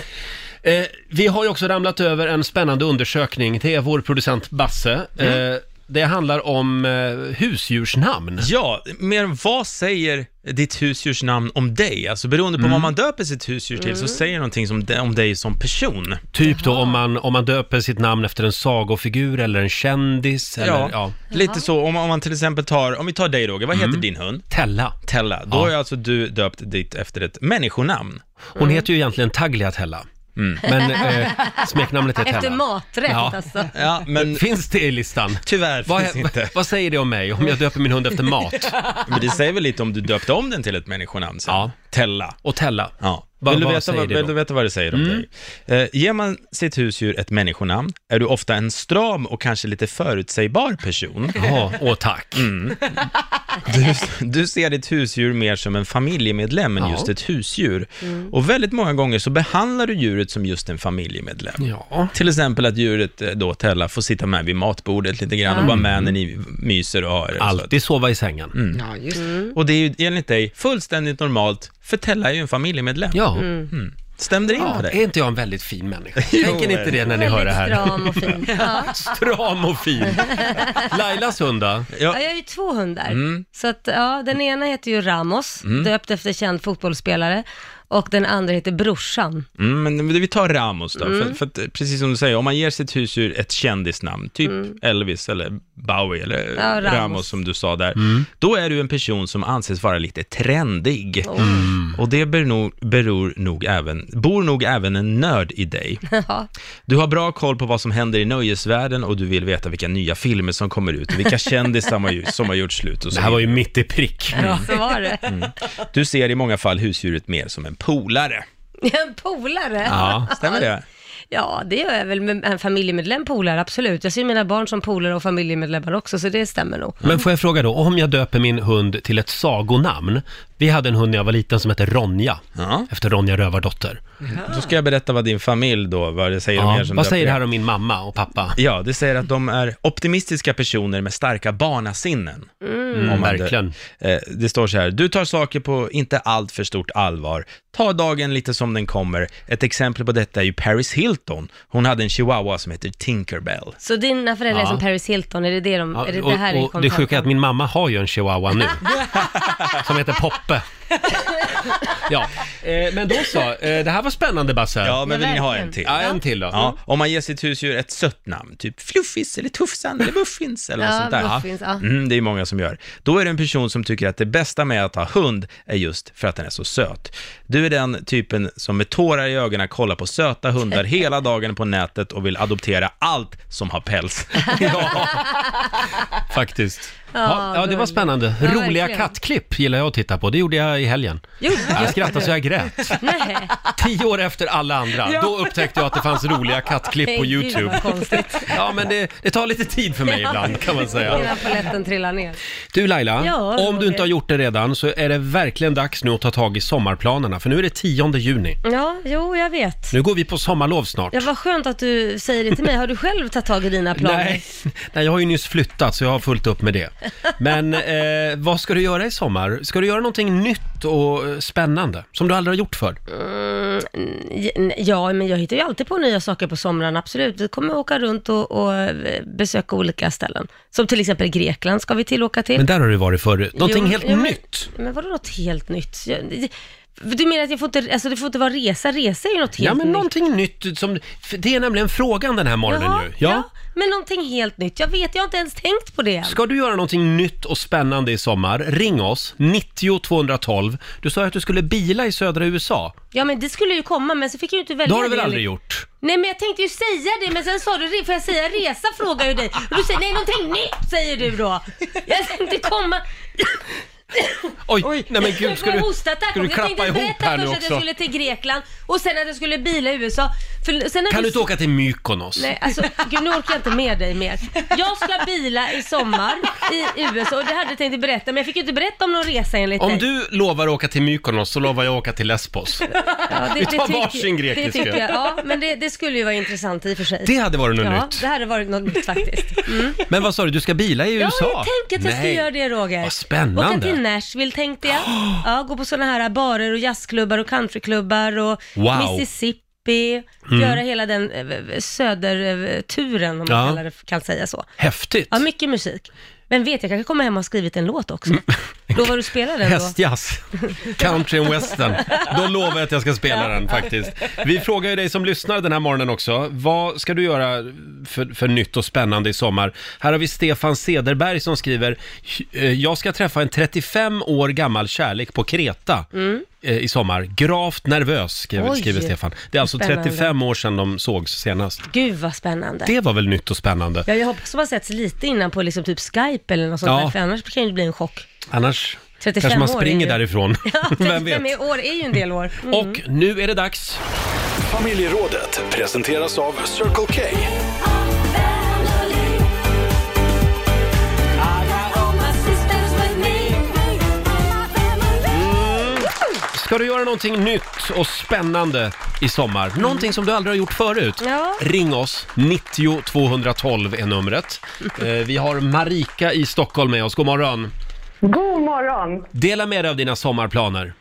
Eh, vi har ju också ramlat över en spännande undersökning. Det är vår producent Basse. Mm. Eh, det handlar om eh, husdjursnamn. Ja, mer vad säger ditt husdjurs namn om dig? Alltså beroende på Mm. vad man döper sitt husdjur till Mm. så säger någonting som, om dig som person. Typ då om man, om man döper sitt namn efter en sagofigur eller en kändis. Eller, ja. Mm. Lite så, om, om man till exempel tar, om vi tar dig Roger, vad heter din hund? Tella. Tella, då Ja. har ju alltså du döpt ditt efter ett människonamn. Hon heter ju egentligen Tagliatella. Mm. Men eh, smeknamnet är Tella. Efter maträtt Ja. alltså. Ja, men Finns det i listan? tyvärr Vad, Typ finns inte. vad säger det om mig om jag döper min hund efter mat? Men det säger väl lite om du döpte om den till ett människonamn sen? Ja. Tella. Och Tella. Ja. Vad- vill, du vad veta, säger vad, det vill då? Mm. du veta vad det säger om dig? Eh, ger man sitt husdjur ett människonamn är du ofta en stram och kanske lite förutsägbar person. Ja, och tack. Mm. Du, du ser ditt husdjur mer som en familjemedlem än Ja. just ett husdjur. Och väldigt många gånger så behandlar du djuret som just en familjemedlem. Ja. Till exempel att djuret eh, då, Tella, får sitta med vid matbordet lite grann och vara Mm. med när ni myser och har det. Alltid sova i sängen. Mm. Ja, just det. Och det är ju enligt dig fullständigt normalt, för Tella är ju en familjemedlem. Ja. Stämde det in ja. på Är dig? inte jag en väldigt fin människa? Tänker ni inte det när ni hör det Väldigt här? stram och fin. Ja. Stram och fin. Lailas hund då? Ja, jag har ju två hundar. Mm. Så att, ja, den ena heter ju Ramos, döpt efter känd fotbollsspelare. Och den andra heter Brorsan. Mm, men vi tar Ramos då, för, för att, eh, precis som du säger, om man ger sitt husdjur ett kändisnamn, typ Elvis eller Bowie eller Ja, Ramos. Ramos. som du sa där, Mm. då är du en person som anses vara lite trendig. Mm. Och det beror, beror nog även, bor nog även en nörd i dig. Ja. Du har bra koll på vad som händer i nöjesvärlden och du vill veta vilka nya filmer som kommer ut och vilka kändisar som har gjort- som har gjort slut och så Det här var vidare. ju mitt i prick. Så var det. Mm. Du ser i många fall husdjuret mer som en polare. En polare. Ja. Stämmer det? Ja, det gör jag väl med en familjemedlem polare, absolut. Jag ser mina barn som polare och familjemedlemmar också, så det stämmer nog. Men får jag fråga då, om jag döper min hund till ett sagonamn. Vi hade en hund när jag var liten som hette Ronja, Ja. efter Ronja Rövardotter. Då ska jag berätta vad din familj då, vad det säger om Ja. er som Mm. Vad säger det döper här om min mamma och pappa? Ja, det säger att de är optimistiska personer med starka barnasinnen. Mm, man dö- verkligen. Eh, Det står så här, du tar saker på inte allt för stort allvar. Ta dagen lite som den kommer. Ett exempel på detta är ju Paris Hilton. Hon hade en chihuahua som heter Tinkerbell. Så dina föräldrar Ja. är som Paris Hilton, är det det de, Ja, är det, och, det här är och det sjuka är att kontentan? min mamma har ju en chihuahua nu. som heter Poppe. Ja, eh, men då så. Eh, det här var spännande Basse. Ja, men vill ni ha verkligen. en till? Ja, en till då. Ja, om man ger sitt husdjur ett sött namn, typ Fluffis eller Tuffsan eller Muffins eller något Ja, sånt där. Muffins, ja. Mm, det är många som gör. Då är det en person som tycker att det bästa med att ha hund är just för att den är så söt. Du är den typen som med tårar i ögonen kollar på söta hundar hela dagen på nätet och vill adoptera allt som har päls. Ja, faktiskt. Ja, ja, det var gulligt. spännande. Ja, Roliga verkligen. kattklipp gillar jag att titta på. Det gjorde jag i helgen. Jo, Jag skrattade så jag grät. nej. Tio år efter alla andra, då upptäckte jag att det fanns roliga kattklipp på Gud, YouTube. vad konstigt. Ja, men det, det tar lite tid för mig ibland kan man säga. Innan polletten trillar ner. Du Laila, Ja, om du Roger. inte har gjort det redan så är det verkligen dags nu att ta tag i sommarplanerna för nu är det 10 juni. Ja, jo, jag vet. Nu går vi på sommarlov snart. Ja, vad skönt att du säger det till mig. Har du själv tagit tag i dina planer? Nej, nej, jag har ju nyss flyttat så jag har fullt upp med det. Men eh, vad ska du göra i sommar? Ska du göra någonting nytt och eh, spännande som du aldrig har gjort förr? Eh, Mm, Ja, men jag hittar ju alltid på nya saker på somrarna, absolut. Vi kommer åka runt och, och eh, besöka olika ställen. Som till exempel Grekland ska vi till åka till. Men där har du varit förut. Någonting Jo, helt jo, men- nytt. Men vadå något helt nytt? Jag, du menar att jag får inte, alltså det får inte vara resa? Resa är ju något helt Ja, men nytt. någonting nytt som... för Det är nämligen frågan den här morgonen Jaha, ju. ja. men någonting helt nytt. Jag vet, jag har inte ens tänkt på det än. Ska du göra någonting nytt och spännande i sommar, ring oss, 90 212. Du sa ju att du skulle bila i södra USA. Ja, men det skulle ju komma, men så fick jag ju inte välja Det har du väl det. aldrig gjort? Nej, men jag tänkte ju säga det, men sen sa du det. Får jag säga resa, frågar ju dig. Och du säger nej, någonting nytt, säger du då. Jag tänkte komma... Oj, nej men gud, ska jag du, får hostattack ska du också. jag klappa tänkte ihop berätta här nu först att jag också? skulle till Grekland och sen att jag skulle bila i USA. För sen när Kan du inte åka till Mykonos? Nej, alltså gud, nu orkar jag inte med dig mer. Jag ska bila i sommar i USA och det hade jag tänkt berätta, men jag fick ju inte berätta om någon resa enligt Om dig. du lovar att åka till Mykonos så lovar jag att åka till Lesbos. ja, det, vi tar tycker- varsin Det grekiska. tycker jag, ja, men det, det skulle ju vara intressant i och för sig. Det hade varit något ja, nytt. det hade varit något nytt faktiskt. Mm. Men vad sa du, du ska bila i Ja, USA? jag tänkte att jag Nej. skulle göra det Roger. Vad spännande. Åka till Nashville tänkte jag. Ja, gå på sådana här barer och jazzklubbar och countryklubbar och Wow. Mm. Mississippi. Göra hela den eh, söderturen om man Ja. kallar det, kan säga så. Häftigt. Ja, mycket musik. Men vet, jag kanske kommer hem och har skrivit en låt också. Mm. Lovar du spela den då? Hästjazz, country and western. Då lovar jag att jag ska spela den faktiskt. Vi frågar ju dig som lyssnar den här morgonen också. Vad ska du göra för, för nytt och spännande i sommar? Här har vi Stefan Sederberg som skriver, "Eh, jag ska träffa en 35 år gammal kärlek på Kreta. eh, i sommar. Gravt nervös, skriver, Mm. Oj. skriver Stefan. Det är alltså Spännande. 35 år sedan de sågs senast. Gud vad spännande. Det var väl nytt och spännande. Ja, jag hoppas de har setts lite innan på liksom typ Skype eller något sånt Ja. där, för annars kan det ju bli en chock. Annars 35 kanske man år är springer ju- därifrån. Ja, Vem 35 vet? år är mm. ju en del år. Mm. Och nu är det dags. Familjerådet presenteras av Circle K. Ska du göra någonting nytt och spännande i sommar? Någonting som du aldrig har gjort förut? Ja. Ring oss, 90 212 är numret. Eh, Vi har Marika i Stockholm med oss, god morgon. God morgon! Dela med dig av dina sommarplaner.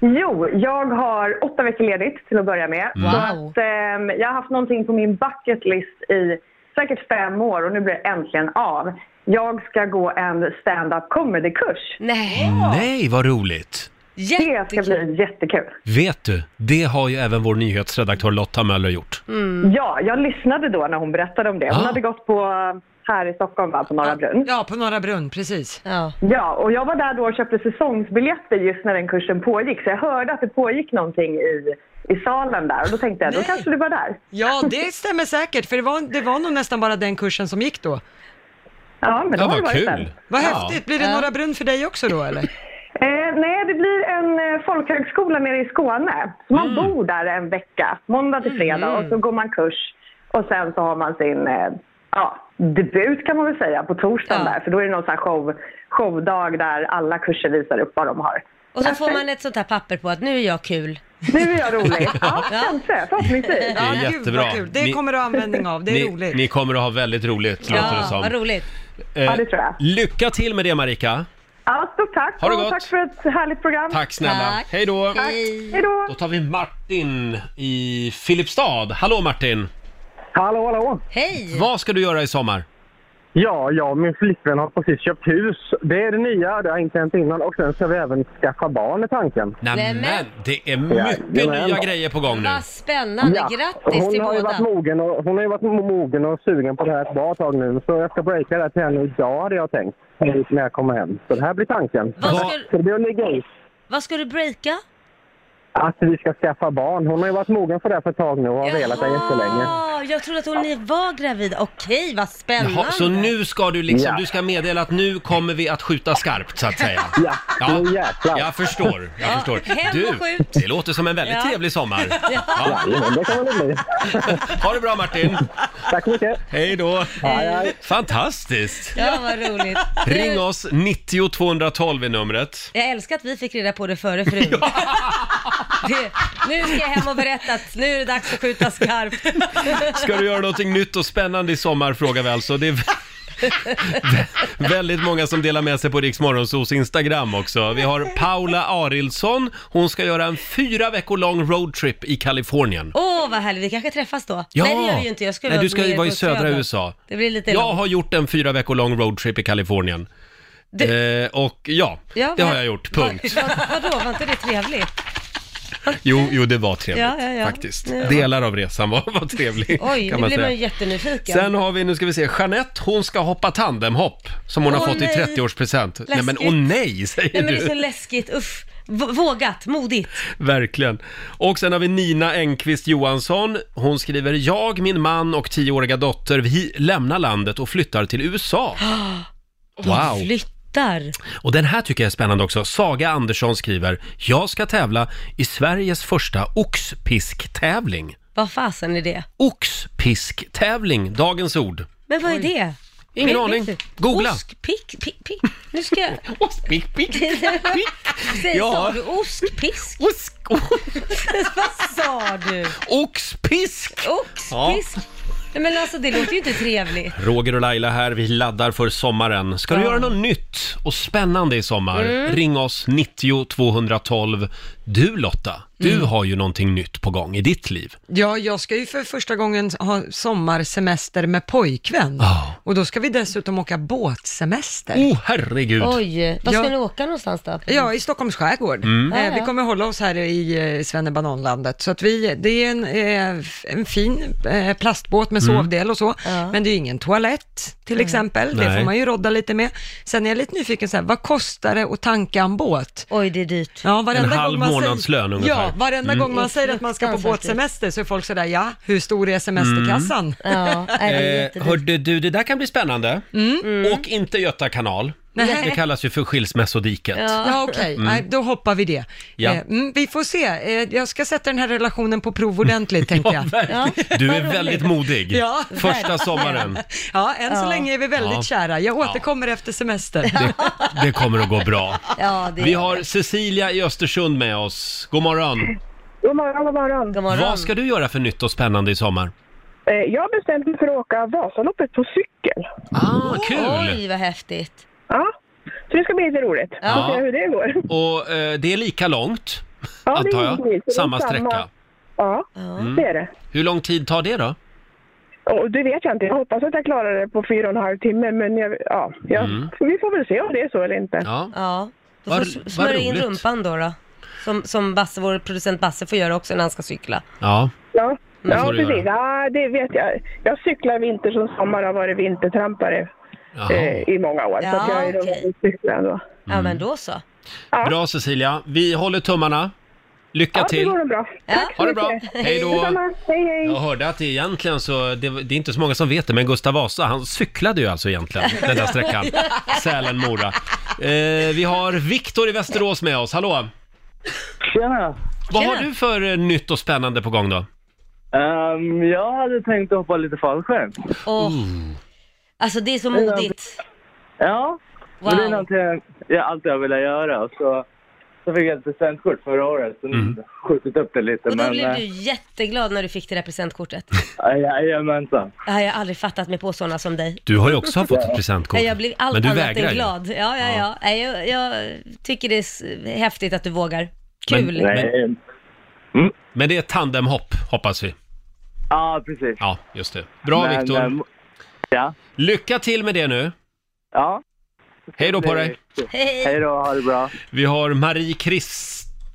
Jo, jag har åtta veckor ledigt till att börja med. Så Wow. att, ehm, jag har haft någonting på min bucket list i säkert fem år och nu blir det äntligen av. Jag ska gå en stand-up comedy-kurs. Nej, Nej, vad roligt! Det ska jättekul. bli jättekul. Vet du, det har ju även vår nyhetsredaktör Lotta Möller gjort. Ja, jag lyssnade då när hon berättade om det. Hon Ah. hade gått på eh, här i Stockholm, va, på Ah. Norra Brunn. Ja, på Norra Brunn, precis. Ja. Ja, och jag var där då och köpte säsongsbiljetter just när den kursen pågick. Så jag hörde att det pågick någonting i, i salen där och då tänkte jag, då Nej. kanske du var där. Ja, det stämmer säkert, för det var, det var nog nästan bara den kursen som gick då. Ja, men då Ja, har vad det varit kul! där. Vad Ja. häftigt, blir det Norra Brunn för dig också då eller? Eh, nej, det blir en eh, folkhögskola nere i Skåne. Så Mm. man bor där en vecka, måndag till fredag, och så går man kurs. Och sen så har man sin eh, ja, debut kan man väl säga på torsdagen Ja. där. För då är det någon sån här show, showdag där alla kurser visar upp vad de har. Och så får man ett sånt här papper på att nu är jag kul. Nu är jag rolig. Ja, Ja. kanske. Förhoppningsvis. är gud, vad jättebra. kul. Det Ni- kommer du ha användning av, det är Ni, roligt. ni kommer att ha väldigt roligt, låter det Ja, vad som. Eh, roligt. Ja, det tror jag. Lycka till med det Marika! Ja, stort tack. Ha det och gott. Tack för ett härligt program. Tack snälla! Tack. Hej då! Tack. Hej då. Då tar vi Martin i Filipstad. Hallå Martin! Hallå, hallå! Hej! Vad ska du göra i sommar? Ja, jag och min flickvän har precis köpt hus. Det är det nya, det har inte hänt innan. Och sen ska vi även skaffa barn i tanken. Nämen, Nämen. det är mycket Jajamän. nya grejer på gång nu. Vad spännande, grattis till hon, har ju båda. varit mogen och, hon har ju varit mogen och sugen på det här ett bra tag nu. Så jag ska breaka det här till henne idag hade jag tänkt. När jag kommer hem. Så det här blir tanken. Vad Vad- ska, Så det blir att ligga i. vad ska du breaka? Att vi ska skaffa barn. Hon har ju varit mogen för det här för ett tag nu och har velat det jättelänge. Jaha, jag trodde att hon ni var gravid. Okej, vad spännande. Jaha, så nu ska du liksom, Ja. du ska meddela att nu kommer vi att skjuta skarpt så att säga. Ja, nu jäklar. jag förstår. Jag Ja, förstår. hem Du, och skjut. det låter som en väldigt Ja. trevlig sommar. Jajamän, det kan man det bli. Ha det bra Martin! Tack så mycket. Hej då! Hej, hej. Fantastiskt! Ja, vad roligt. Ring oss, 90 212 är numret. Jag älskar att vi fick reda på det före frun. Det, nu ska jag hem och berätta att nu är det dags att skjuta skarpt. Ska du göra någonting nytt och spännande i sommar frågar vi alltså. Det är vä- väldigt många som delar med sig på Rix Morgonzos Instagram också. Vi har Paula Arildsson. Hon ska göra en fyra veckor lång roadtrip i Kalifornien. Åh, vad härligt. Vi kanske träffas då. Ja. Nej, det gör vi ju inte. Jag ska Nej, du ska ju mer vara i på södra USA. Det blir lite Jag långt. har gjort en fyra veckor lång roadtrip i Kalifornien. Eh, och ja, Ja, det har men- jag gjort. Punkt. Vad, vadå, var inte det trevligt? Jo, jo det var trevligt Ja, ja, ja. faktiskt. Ja. Delar av resan var, var trevlig. Oj, kan nu man blir säga. man ju jättenyfiken. Sen har vi, nu ska vi se, Jeanette hon ska hoppa tandemhopp som hon har Åh, fått nej. i 30-årspresent. Nej men Läskigt. åh nej säger Nej, men du. det är så läskigt. Usch. V- Vågat, modigt. Verkligen. Och sen har vi Nina Engqvist Johansson. Hon skriver, jag, min man och tioåriga dotter, vi lämnar landet och flyttar till USA. Wow! Flyttar. Och den här tycker jag är spännande också. Saga Andersson skriver, jag ska tävla i Sveriges första oxpisktävling. Vad fasen är det? Oxpisktävling, dagens ord. Men vad är det? Ingen Vet- vet aning. du? Googla. Osk, pick, pick, pick. Nu ska jag... Ostpick, pick, Säg, Ja. sa du oskpisk? osk, vad sa du? oxpisk! Oxpisk? Nej, men alltså det låter ju inte trevligt. Roger och Laila här, vi laddar för sommaren. Ska du göra något nytt och spännande i sommar? Mm. Ring oss 90 212. Du Lotta, du Mm. har ju någonting nytt på gång i ditt liv. Ja, jag ska ju för första gången ha sommarsemester med pojkvän. Ja. Och då ska vi dessutom åka båtsemester. Mm. Oh, herregud! Oj, var ska Ja. ni åka någonstans då? Ja, i Stockholms skärgård. Mm. Ja, ja. Eh, vi kommer hålla oss här i eh, Svennebananlandet. Så att vi, det är en, eh, f- en fin eh, plastbåt med Mm. sovdel och så. Ja. Men det är ju ingen toalett till exempel. Det Nej. får man ju rodda lite med. Sen är jag lite nyfiken så här, vad kostar det att tanka en båt? Oj, det är dyrt. Ja, varenda En halv gång man säger- månadslön ungefär. Mm. Ja, varenda gång Mm. man säger att man ska på Fruktansvärt dyrt. båtsemester så är folk sådär, ja, hur stor är semesterkassan? Mm. Ja, nej, det är Eh, jättedyrt. Mm. hörde du, det där kan bli spännande. Åk inte Göta kanal. Nej. Det kallas ju för skilsmässodiket. Ja, okej. Nej, då hoppar vi det. mm. Ja. Eh, Mm, vi får se. Eh, jag ska sätta den här relationen på prov ordentligt, tänkte jag. verkligen. Du är vad väldigt roligt. modig. Ja, Första sommaren. Ja, än så Ja. länge är vi väldigt Ja. kära. Jag återkommer efter semester. Det, det kommer att gå bra. Ja, det Vi har Cecilia i Östersund med oss. God morgon. God morgon, god morgon. God morgon. Vad ska du göra för nytt och spännande i sommar? Eh, Jag bestämde mig för att åka Vasaloppet på cykel. Ah, kul! Oj, vad häftigt. Ja, så det ska bli lite roligt. Får Ja. se hur det går. Och eh, det är lika långt, Ja, det är roligt. antar Det jag. är Samma sträcka. Ja, det är det. Hur lång tid tar det då? Och det vet jag inte. Jag hoppas att jag klarar det på fyra och en halv timme, men jag, ja, jag, Mm. vi får väl se om det är så eller inte. Ja. Ja. Du Vad- får vad smörja in roligt. rumpan då. då. Som, som Basse, vår producent Basse får göra också när han ska cykla. ja. Ja, ja får du precis. Ja, det vet jag. Jag cyklar vinter som sommar och har varit vintertrampare Jaha. eh, i många år. så att Ja, jag är okej. okay. cyklar ändå. Mm. Ja, men då så. Bra Cecilia. Vi håller tummarna. Lycka Ja, det till! går nog bra. Tack så Ha det bra. mycket. Hej då! Detsamma. Hej, hej. Jag hörde att egentligen så, det, det är inte så många som vet det, men Gustav Vasa, han cyklade ju alltså egentligen den där sträckan. Sälen-Mora. Eh, vi har Viktor i Västerås med oss, hallå! Tjena! Vad Tjena. har du för eh, nytt och spännande på gång då? Ehm, jag hade tänkt att hoppa lite fallskärm. Och, Alltså det är så modigt. Ja, men det är Wow. någonting jag alltid har velat göra. Så, så fick jag ett presentkort förra året, så nu har jag skjutit upp det lite. Och då men, blev eh, du jätteglad när du fick det där presentkortet. ja, Jajamensan. Det har jag aldrig fattat mig på sådana som dig. Du har ju också fått ett presentkort. Jag blev allt men du annat vägrar än ju. glad. Ja, ja, ja. Nej, Jag, jag tycker det är s- häftigt att du vågar. Men- Kul. Nej. Men det är ett tandemhopp, hoppas vi. Ja, precis. Ja, just det. Bra Men, Viktor. ehm, ja. Lycka till med det nu. ja. Hej då på dig. Hej. Hej då, ha det bra. Vi har Marie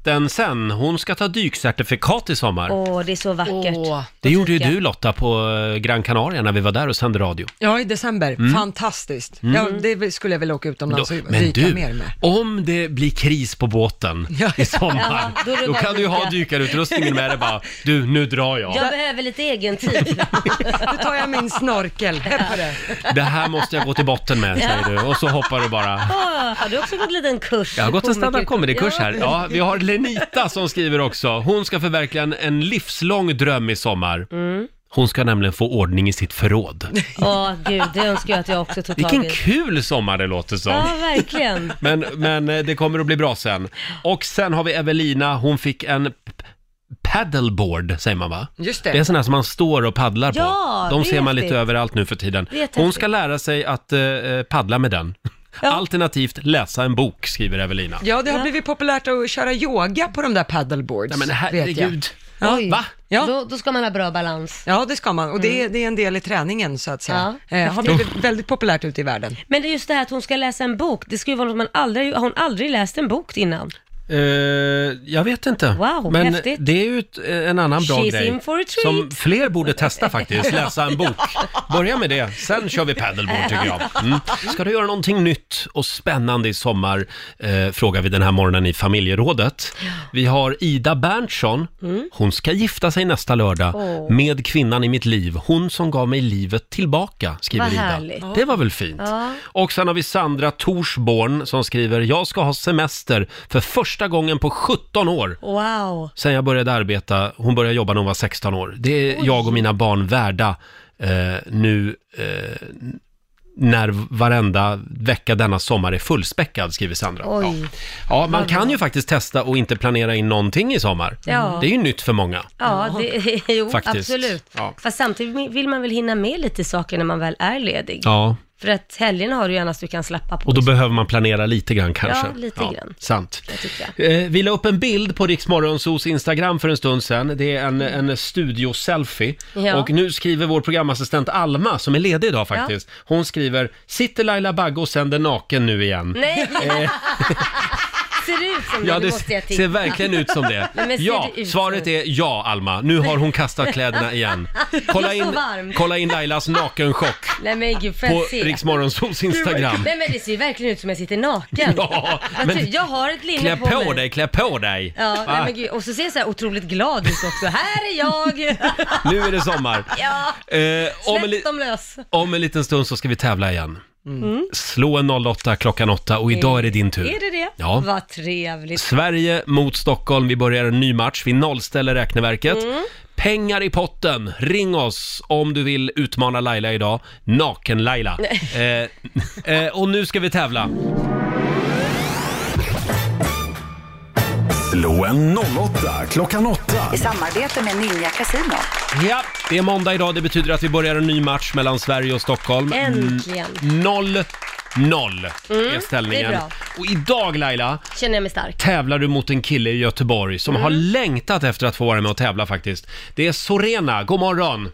Kristensen. Hon ska ta dykcertifikat i sommar. Åh, det är så vackert. Åh. det gjorde ju tycker jag. du Lotta på eh, Gran Canaria när vi var där och sände radio. Ja, i december. Fantastiskt. Ja, det skulle jag vilja åka utomlands och Då- Mm. men dyka du, mer med. om det blir kris på båten Ja. i sommar, Ja, då är det då bara kan du ju ha dyka. dykarutrustningen med dig bara. Du, nu drar jag. Jag behöver lite egen tid. Nu tar jag min snorkel. Häpp på det. Det här måste jag gå till botten med, säger du. Och så hoppar du bara. Åh, har du också gått en liten kurs? Jag har gått en Komiker- standard comedy-kurs här. Ja, vi har Lenita som skriver också. Hon ska förverkliga en, en livslång dröm i sommar. Mm. Hon ska nämligen få ordning i sitt förråd. Åh gud, det önskar jag att jag också tog Vilken tag i. kul sommar det låter som. Ja, verkligen. Men, men eh, det kommer att bli bra sen. Och sen har vi Evelina, hon fick en p- paddleboard, säger man va? Just Det är det. sådana som man står och paddlar Mm. Ja, på. De det ser är man lite häftigt. överallt nu för tiden. Det är häftigt. Hon ska lära sig att eh, eh, paddla med den. Alternativt läsa en bok, skriver Evelina. Ja, det har blivit populärt att köra yoga på de där paddleboards, Nej men vet jag. herregud. Oj. Va? Ja. Då, då ska man ha bra balans. Ja, det ska man. Och det, är- det är en del i träningen, så att säga. Mm. Ja. Eh, har blivit väldigt populärt ute i världen. Men det är just det här att hon ska läsa en bok. Det ska ju vara något man aldrig, har hon aldrig läst en bok innan? Eh, jag vet inte. Wow, men häftigt. det är ju ett, eh, en annan bra She's grej. in for a treat. Som fler borde testa faktiskt, läsa en bok. Börja med det, sen kör vi paddleboard tycker jag. Mm. Ska du göra någonting nytt och spännande i sommar? Eh, frågar vi den här morgonen i familjerådet. Vi har Ida Berntsson. Hon ska gifta sig nästa lördag Åh. med kvinnan i mitt liv. Hon som gav mig livet tillbaka, skriver Vad Ida. härligt. Det var väl fint? Ja. Och sen har vi Sandra Torsborn som skriver, jag ska ha semester för första gången på 17 år Wow. sen jag började arbeta. Hon började jobba när hon var 16 år. Det är jag och mina barn värda eh, nu eh, när varenda vecka denna sommar är fullspäckad, skriver Sandra. Ja. Oj. ja, man kan ju faktiskt testa och inte planera in någonting i sommar. Ja. Det är ju nytt för många. Ja, det, jo, Faktiskt. absolut. Ja. Fast samtidigt vill man väl hinna med lite saker när man väl är ledig. Ja, För att helgerna har du gärna så du kan släppa på. Och då behöver man planera lite grann kanske. Ja, lite grann. Sant. det tycker jag. Eh, Vi la upp en bild på Riksmorgonsos Instagram för en stund sedan. Det är en, en studio-selfie. Mm. Ja. Och nu skriver vår programassistent Alma, som är ledig idag faktiskt, hon skriver “Sitter Laila Bagge och sänder naken nu igen?” Nej! ser det ut som Mm, det? Ja, Nu det måste jag ser titta. ser verkligen ut som det. Nej, men ser Ja, det ut svaret som- är ja, Alma. Nu har hon kastat kläderna igen. Kolla Det är så in, varmt. kolla in Lailas nakenchock Nej men gud, får på jag se? Riksmorgonsos Instagram. Nej men det ser ju verkligen ut som jag sitter naken. Ja, Vad men- tur, Jag har ett linne Klä på, mig. på dig, klä på dig! Ja, Va? nej, men gud. Och så ser jag så här otroligt glad ut också. Här är jag! Nu är det sommar. ja, Eh, om, en li- släpp dem lös. om en liten stund så ska vi tävla igen. Slå en 08 klockan 8 och idag är det din tur. Mm. Är det det? Ja. Vad trevligt. Sverige mot Stockholm. Vi börjar en ny match. Vi nollställer räkneverket. Mm. Pengar i potten. Ring oss om du vill utmana Laila idag. Naken-Laila. Eh, eh, och nu ska vi tävla. Slå en 08 klockan 8. I samarbete med Ninja Casino. Ja, det är måndag idag. Det betyder att vi börjar en ny match mellan Sverige och Stockholm. Äntligen. 0-0 är ställningen. Mm, det är bra. och idag Laila, Känner jag mig stark. tävlar du mot en kille i Göteborg som Mm. har längtat efter att få vara med och tävla faktiskt. Det är Sorena, god morgon!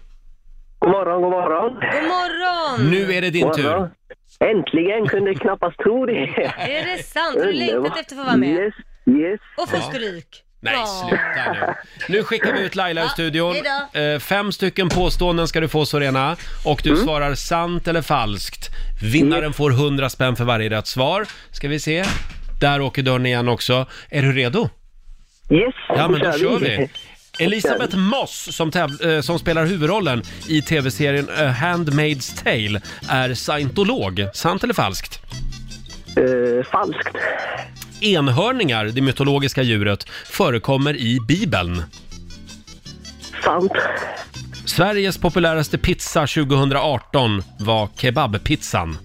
God morgon, god morgon. God Mm. morgon! Nu är det din tur. Äntligen kunde knappast tro det. Är det sant? Har du Mm. längtat efter att få vara med? Yes, yes. Och få stryk. Nej, Ja. sluta nu. Nu skickar vi ut Laila i Ja, studion. hejdå. Eh, Fem stycken påståenden ska du få Sorena och du Mm. svarar sant eller falskt. Vinnaren får 100 spänn för varje rätt svar. Ska vi se. Där åker dörren igen också. Är du redo? Yes, Ja, då men då kör vi. Då Elisabeth Moss, som, täv- eh, som spelar huvudrollen i tv-serien A Handmaid's Tale, är scientolog. Sant eller falskt? Eh, falskt. Enhörningar, det mytologiska djuret, förekommer i Bibeln. Sant. Sveriges populäraste pizza 2018 var kebabpizzan.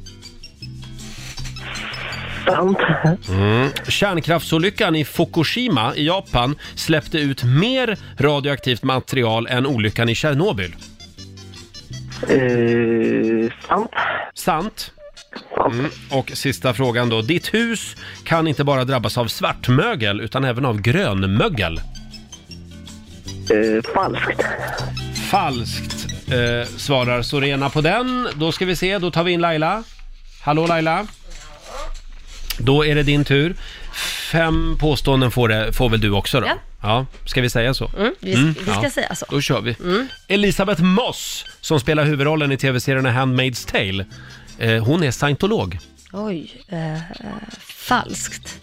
Sant. Kärnkraftsolyckan i Fukushima i Japan släppte ut mer radioaktivt material än olyckan i Tjernobyl. Eh, sant. Sant. Mm. Och sista frågan då. Ditt hus kan inte bara drabbas av svartmögel utan även av grönmögel. Eh, falskt. Falskt, eh, svarar Sorena på den. Då ska vi se, då tar vi in Laila. Hallå Laila. Då är det din tur. Fem påståenden får, det, får väl du också då? Ja. ja. Ska vi säga så? Mm, vi, vi ska ja. säga så. Då kör vi. Elisabeth Moss, som spelar huvudrollen i tv-serien A Handmaid's Tale, eh, hon är scientolog. Oj, eh, eh, falskt.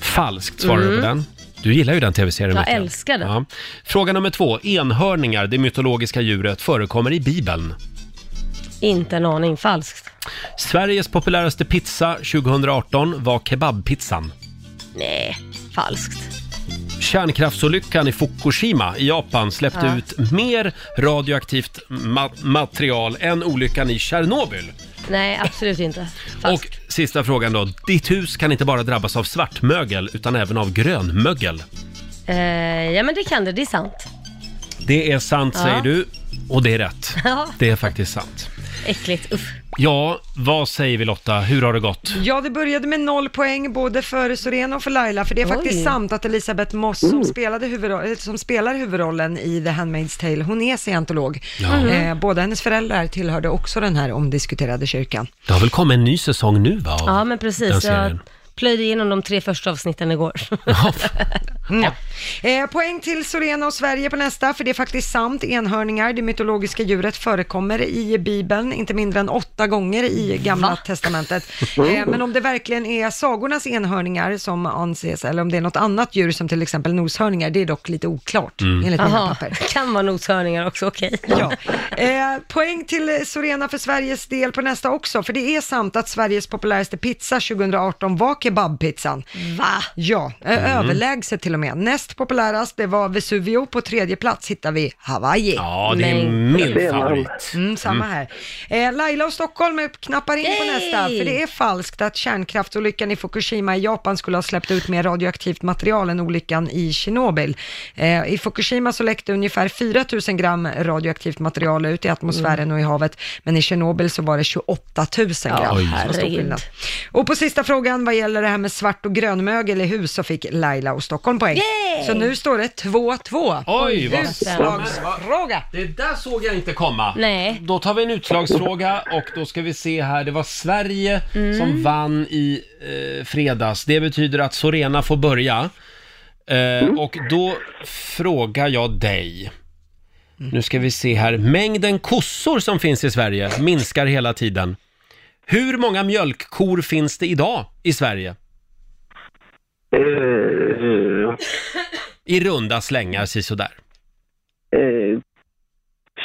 Falskt svarar du på den. Du gillar ju den tv-serien. Mm. Jag vet älskar den. Ja. Fråga nummer två. Enhörningar, det mytologiska djuret, förekommer i Bibeln. Inte en aning falskt. Sveriges populäraste pizza 2018 var kebabpizzan. Nej, falskt. Kärnkraftsolyckan i Fukushima i Japan släppte Ja. ut mer radioaktivt ma- material än olyckan i Tjernobyl. Nej, absolut inte. Och Falskt. sista frågan då. Ditt hus kan inte bara drabbas av svartmögel utan även av grönmögel. Eh, ja, men det kan det. Det är sant. Det är sant Ja. säger du och det är rätt. Ja. Det är faktiskt sant. Äckligt. Uff. Ja, vad säger vi Lotta? Hur har det gått? Ja, det började med noll poäng både för Sorena och för Laila, för det är Oj. faktiskt sant att Elisabeth Moss som, spelade huvudro- eh, som spelar huvudrollen i The Handmaid's Tale, hon är scientolog. Eh, båda hennes föräldrar tillhörde också den här omdiskuterade kyrkan. Det har väl kommit en ny säsong nu va? av Ja, men den precis. Jag serien? plöjde igenom de tre första avsnitten igår. Ja. Eh, poäng till Sorena och Sverige på nästa, för det är faktiskt sant. Enhörningar, det mytologiska djuret, förekommer i Bibeln inte mindre än åtta gånger i Gamla Testamentet. Eh, men om det verkligen är sagornas enhörningar som anses, eller om det är något annat djur som till exempel noshörningar, det är dock lite oklart enligt mina Jaha, papper. kan vara noshörningar också, okej. Ja. Eh, poäng till Sorena för Sveriges del på nästa också, för det är sant att Sveriges populäraste pizza 2018 var kebabpizzan. Va? Ja, eh, överlägset till och med. Näst populärast, det var Vesuvio. På tredje plats hittar vi Hawaii. Ja, det är Men- min Det är man. favorit. Mm, samma här. Eh, Laila och Stockholm är- knappar in på Yay! nästa, för det är falskt att kärnkraftsolyckan i Fukushima i Japan skulle ha släppt ut mer radioaktivt material än olyckan i Tjernobyl. Eh, I Fukushima så läckte ungefär 4 000 gram radioaktivt material ut i atmosfären och i havet. Men i Tjernobyl så var det 28 000 grad. Oj. Så stor Herregud. skillnad. Och på sista frågan vad gäller det här med svart och grönmögel i hus så fick Laila och Stockholm poäng. Yay! Så nu står det 2-2. Oj, vad Utslagsfråga! Det där såg jag inte komma. Nej. Då tar vi en utslagsfråga och då ska vi se här. Det var Sverige Mm. som vann i eh, fredags. Det betyder att Sorena får börja. Eh, Och då frågar jag dig. Nu ska vi se här. Mängden kossor som finns i Sverige minskar hela tiden. Hur många mjölkkor finns det idag i Sverige? Eh, I runda slängar, sisådär.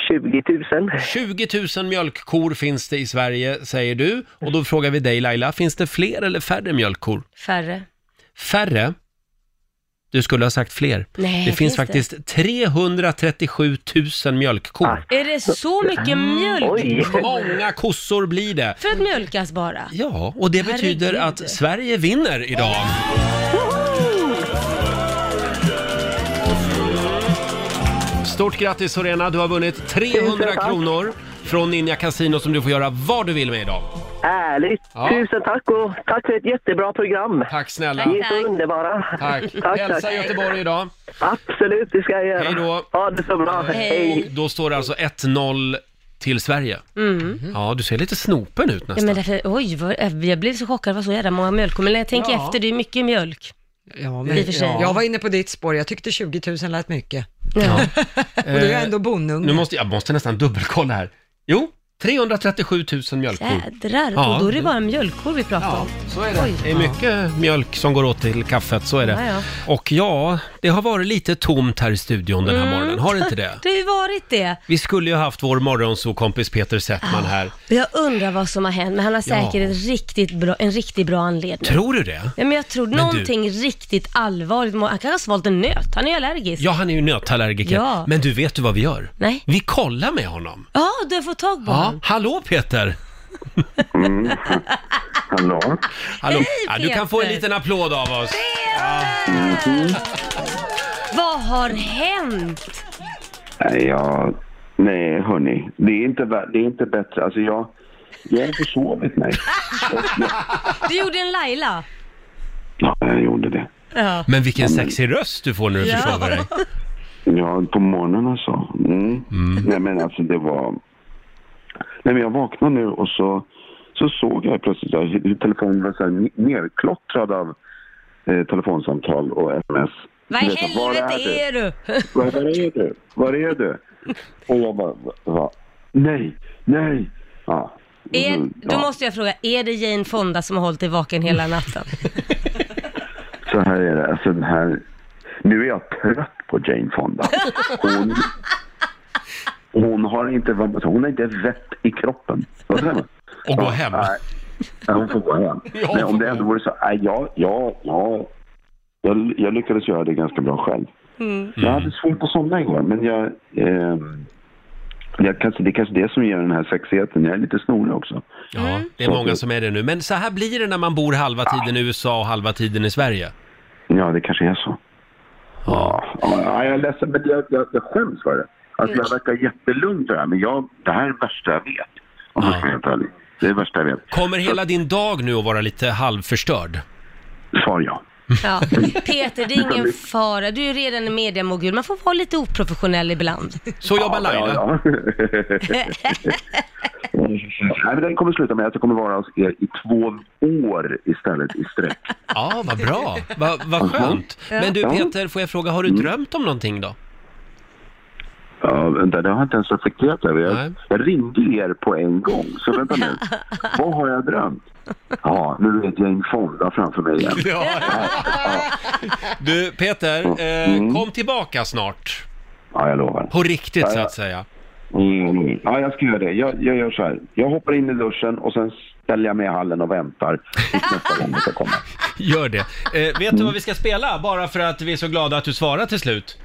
20 000. 20 000 mjölkkor finns det i Sverige, säger du. Och då frågar vi dig Laila, finns det fler eller färre mjölkkor? Färre. Färre? Du skulle ha sagt fler. Nej, det finns finns det? faktiskt 337 000 mjölkkor. Ah. Är det så mycket Mm, mjölk? Många kossor blir det. För att mjölkas bara? Ja, och det betyder Herregud. att Sverige vinner idag. Stort grattis Sorena, du har vunnit 300 Tusen tack. kronor från Ninja Casino som du får göra vad du vill med idag. Ärligt. Ja. Tusen tack och tack för ett jättebra program. Tack snälla. Ni är så underbara. Tack. tack, Hälsa tack. Göteborg idag. Absolut, det ska jag göra. Hej då. Ha det så bra. Och då står det alltså 1-0 till Sverige. Mm. Ja, du ser lite snopen ut Ja, nästan. men därför, oj, vad, jag blev så chockad, det var så jävla många mjölkkor. Men jag tänker Ja. efter, det är mycket mjölk. Ja, I och för sig. ja. Jag var inne på ditt spår, jag tyckte 20 000 lät mycket. Ja. Och då är jag ändå bonung. Eh, Nu måste jag måste nästan dubbelkolla här. Jo, 337 000 mjölkkor. Jädrar, Ja. och då är det bara mjölkkor vi pratar om. Så är det. Det är mycket mjölk som går åt till kaffet, så är det. Ja, ja. Och ja, det har varit lite tomt här i studion den här Mm. morgonen, har det inte det? Det har ju varit det. Vi skulle ju ha haft vår morgonsokompis Peter Ah. Settman här. Och Jag undrar vad som har hänt, men han har Ja. säkert en, riktigt bra, en riktigt bra anledning. Tror du det? Ja, men jag tror Men du- någonting riktigt allvarligt. Han kanske har svalt en nöt, han är ju allergisk. Ja, han är ju nötallergiker. Ja. Men du, vet du vad vi gör? Nej. Vi kollar med honom. Ja, du har fått tag på Ja, honom. hallå Peter! Hallå? hallå. Ja, du Peter. kan få en liten applåd av oss. Vad har hänt? Nej, jag... Nej, hörni. Det är inte, vä- det är inte bättre. Alltså, jag... Jag har försovit mig. Du gjorde en Laila. Ja, jag gjorde det. Ja. Men vilken sexig röst du får när du Ja. försover dig. Ja, på morgonen alltså. Mm. Nej, men alltså det var... Nej, men jag vaknade nu och så, så såg jag plötsligt att hur telefonen var så här nerklottrad av eh, telefonsamtal och sms. Vad i Du vet, var helvete är du? Var, var är du? Var är du? Och jag bara, va, va? nej, nej. Ja. Är, då Mm, Ja. måste jag fråga, är det Jane Fonda som har hållit dig vaken hela natten? Så här är det, alltså den här... Nu är jag trött på Jane Fonda. Hon, hon har inte alltså, hon har inte vett i kroppen. Vad säger man? Och gå hem. Nej, Nej, hon får gå hem. Ja, Men om det ändå vore så, nej, jag, jag, jag, jag, jag lyckades göra det ganska bra själv. Mm. Jag hade svårt att somna igår, men jag... Eh, jag kanske, det är kanske det som ger den här sexigheten. Jag är lite snorig också. Mm. Ja, det är många som är det nu. Men så här blir det när man bor halva tiden i USA och halva tiden i Sverige. Ja, det kanske är så. Ja, ja, jag är ledsen, men jag, jag, jag skäms för det. Alltså, jag verkar jättelugn för det här, men jag, det här är det värsta jag vet. Om jag ska vara helt ärlig. Det är det värsta jag vet. Kommer hela din dag nu att vara lite halvförstörd? Svar ja. Ja. Peter, det är ingen fara. Du är redan en mediamogul. Man får vara lite oprofessionell ibland. Så jobbar Laila. Ja, Nej, men den kommer sluta med att jag kommer vara hos er i två år istället i sträck. Ja, vad bra. Va- Vad Mhm. skönt. Ja. Men du Ja. Mm. Peter, får jag fråga, har du drömt om någonting då? Ja, vänta, det har jag inte ens reflekterat över. Jag, jag ringde er på en gång, så vänta nu. Vad har jag drömt? Ja, nu vet jag en Fonda framför mig igen. Du Peter, eh, kom tillbaka snart. Ja, jag lovar. På riktigt Mm. Ja, så ja. att säga. Mm. Ja, jag ska göra det. Jag, jag gör så här. Jag hoppar in i duschen och sen ställer jag mig i hallen och väntar tills nästa gång det ska komma. Gör det. Eh, vet du vad vi ska spela? Bara för att vi är så glada att du svarar till slut.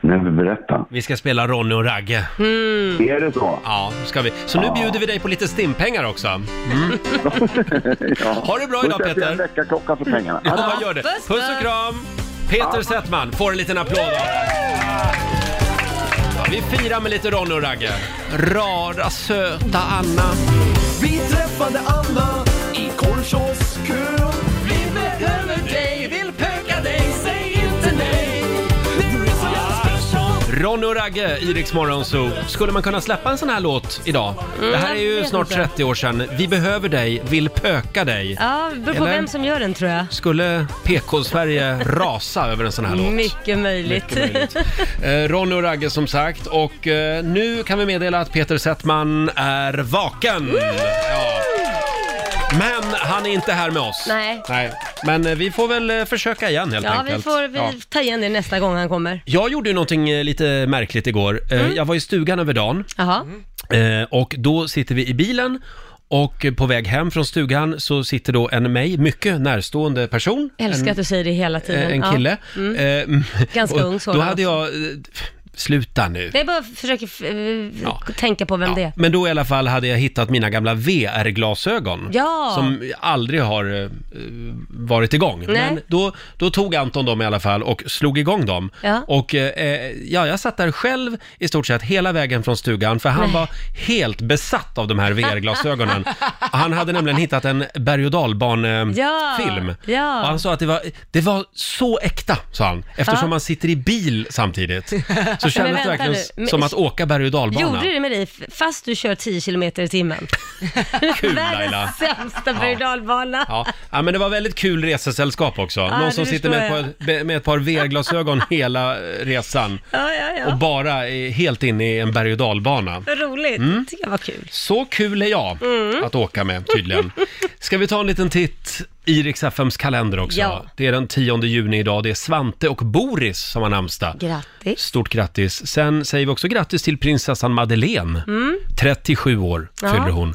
Nej, men berätta. Vi ska spela Ronny och Ragge. Är det så? Mm. Ja, ska vi. Så nu bjuder vi dig på lite stimpengar också. Mm. ja. Ha det bra idag Då sätter jag Peter! en väckarklocka för pengarna. Ja, vad gör det. Puss, Puss och kram! Peter Settman får en liten applåd av oss. Vi firar med lite Ronny och Ragge. Rara söta Anna. Vi träffade Anna i korvkioskön. Vi behöver dig, vill pöka dig, säg inte nej. Nu är så jag special. Ronny och Ragge i Rix Morgon Zoo. Skulle man kunna släppa en sån här låt idag? Mm, det här är jag ju vet snart inte. 30 år sedan. Vi behöver dig, vill pöka dig. Ja, det beror på Eller? vem som gör den tror jag. Skulle PK-Sverige rasa över en sån här låt? Mycket möjligt. Mycket möjligt. Eh, Ronny och Ragge som sagt och eh, nu kan vi meddela att Peter Settman är vaken. Ja. Men han är inte här med oss. Nej. Men eh, vi får väl eh, försöka igen helt ja, enkelt. vi får vi Ja. ta igen det nästa gång han kommer. Jag gjorde ju någonting eh, lite märkligt igår. Eh, Mm. Jag var i stugan över dagen Jaha. eh, och då sitter vi i bilen och eh, på väg hem från stugan så sitter då en mig mycket närstående person. Älskar att en, du säger det hela tiden. eh, en kille. Ja. Mm. Eh, Ganska och ung sådan Då hade också. jag... eh, Sluta nu. Nej, bara försöker eh, tänka på vem det är. Men då i alla fall hade jag hittat mina gamla VR-glasögon. Ja. Som aldrig har eh, varit igång. Nej. Men då, då tog Anton dem i alla fall och slog igång dem. Ja. Och eh, ja, jag satt där själv i stort sett hela vägen från stugan för han Nej. var helt besatt av de här VR-glasögonen. han hade nämligen hittat en berg och dalbane-film. Ja. Ja. Och han sa att det var, det var så äkta, sa han, eftersom Ja. man sitter i bil samtidigt. Så Men kändes vänta det verkligen nu, men- som att åka berg och dalbana. Gjorde du det med dig f- fast du kör 10 km i timmen? Kul Laila! Sämsta berg och dalbana. Ja. ja, men det var väldigt kul resesällskap också. Någon det som sitter förstår med ett, par, med ett par VR-glasögon hela eh, resan Ja, ja, ja. och bara är helt inne i en berg och dalbana. Vad roligt. Mm. tycker jag var kul. Så kul är jag Mm. att åka med tydligen. Ska vi ta en liten titt i Rix FMs kalender också? Ja. Det är den 10 juni idag. Det är Svante och Boris som har namnsdag. Grattis. Stort grattis. Sen säger vi också grattis till prinsessan Madeleine. Mm. 37 år Ja. fyller hon.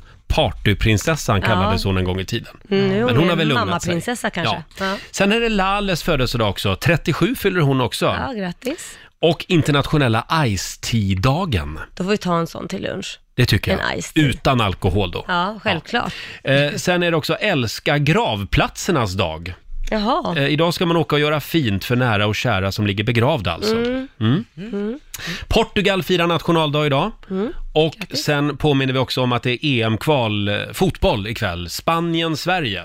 Partyprinsessan Ja. kallades hon en gång i tiden. Mm, nu är Men hon, hon har väl en lugnat sig. mammaprinsessa kanske. Ja. Sen är det Lales födelsedag också. 37 fyller hon också. Ja, grattis. Och internationella Ice-Tea-dagen. Då får vi ta en sån till lunch. Det tycker jag. En Ice-Tea. Utan alkohol då. Ja, självklart. Eh, sen är det också älska gravplatsernas dag. Jaha. Eh, idag ska man åka och göra fint för nära och kära som ligger begravda alltså. Mm. Mm. Mm. Portugal firar nationaldag idag. Mm. Och sen påminner vi också om att det är EM-kval eh, fotboll ikväll. Spanien-Sverige.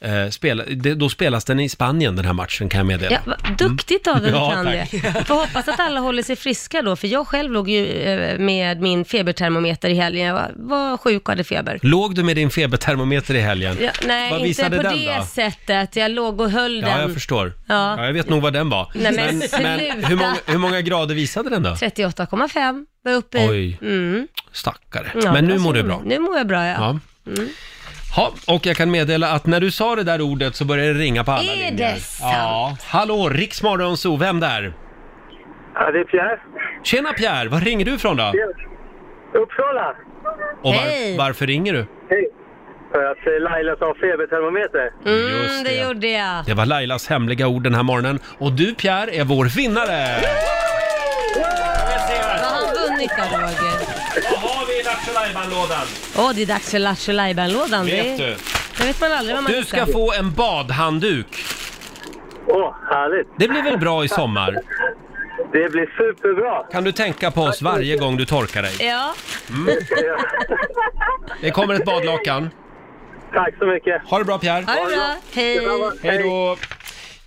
Eh, spela, det, då spelas den i Spanien den här matchen kan jag meddela. Ja, vad duktigt av dig Mm. Ja, kan det. tack. Får hoppas att alla håller sig friska då, för jag själv låg ju eh, med min febertermometer i helgen. Jag var, var sjuk och hade feber. Låg du med din febertermometer i helgen? Ja, nej, Vad inte visade på den det då? sättet. Jag låg och höll Ja, den. jag förstår. Ja. Ja. jag vet nog vad den var. Nej, men sluta. hur, många, hur många grader visade den då? 38,5 var jag uppe i. Oj. Mm. Stackare. Ja, men nu alltså, mår du bra. Nu mår jag bra, ja. Ja. Mm. Ha, och jag kan meddela att när du sa det där ordet så började det ringa på alla Är linjer. det sant? Ja. Hallå, Riksmorgon Zoo, vem där? Ja, det är Pierre. Tjena Pierre, var ringer du ifrån då? Uppsala. Och var, varför ringer du? Hej. För att eh, Laila sa febertermometer. Mm, det gjorde jag. Det var Lailas hemliga ord den här morgonen. Och du Pierre är vår vinnare! Vad har han vunnit då, Roger? Vad har vi i Lattjo-lajban-lådan? Åh, det är dags för Lattjo Lajban-lådan. Vet Det- du? Det vet man aldrig vad man Du ska få en badhandduk. Åh, härligt. Det blir väl bra i sommar? Det blir superbra. Kan du tänka på oss varje gång du torkar dig? Ja. Mm. Det kommer ett badlakan. Tack så mycket. Ha det bra Pierre. Ha det bra. Hej. Hej då.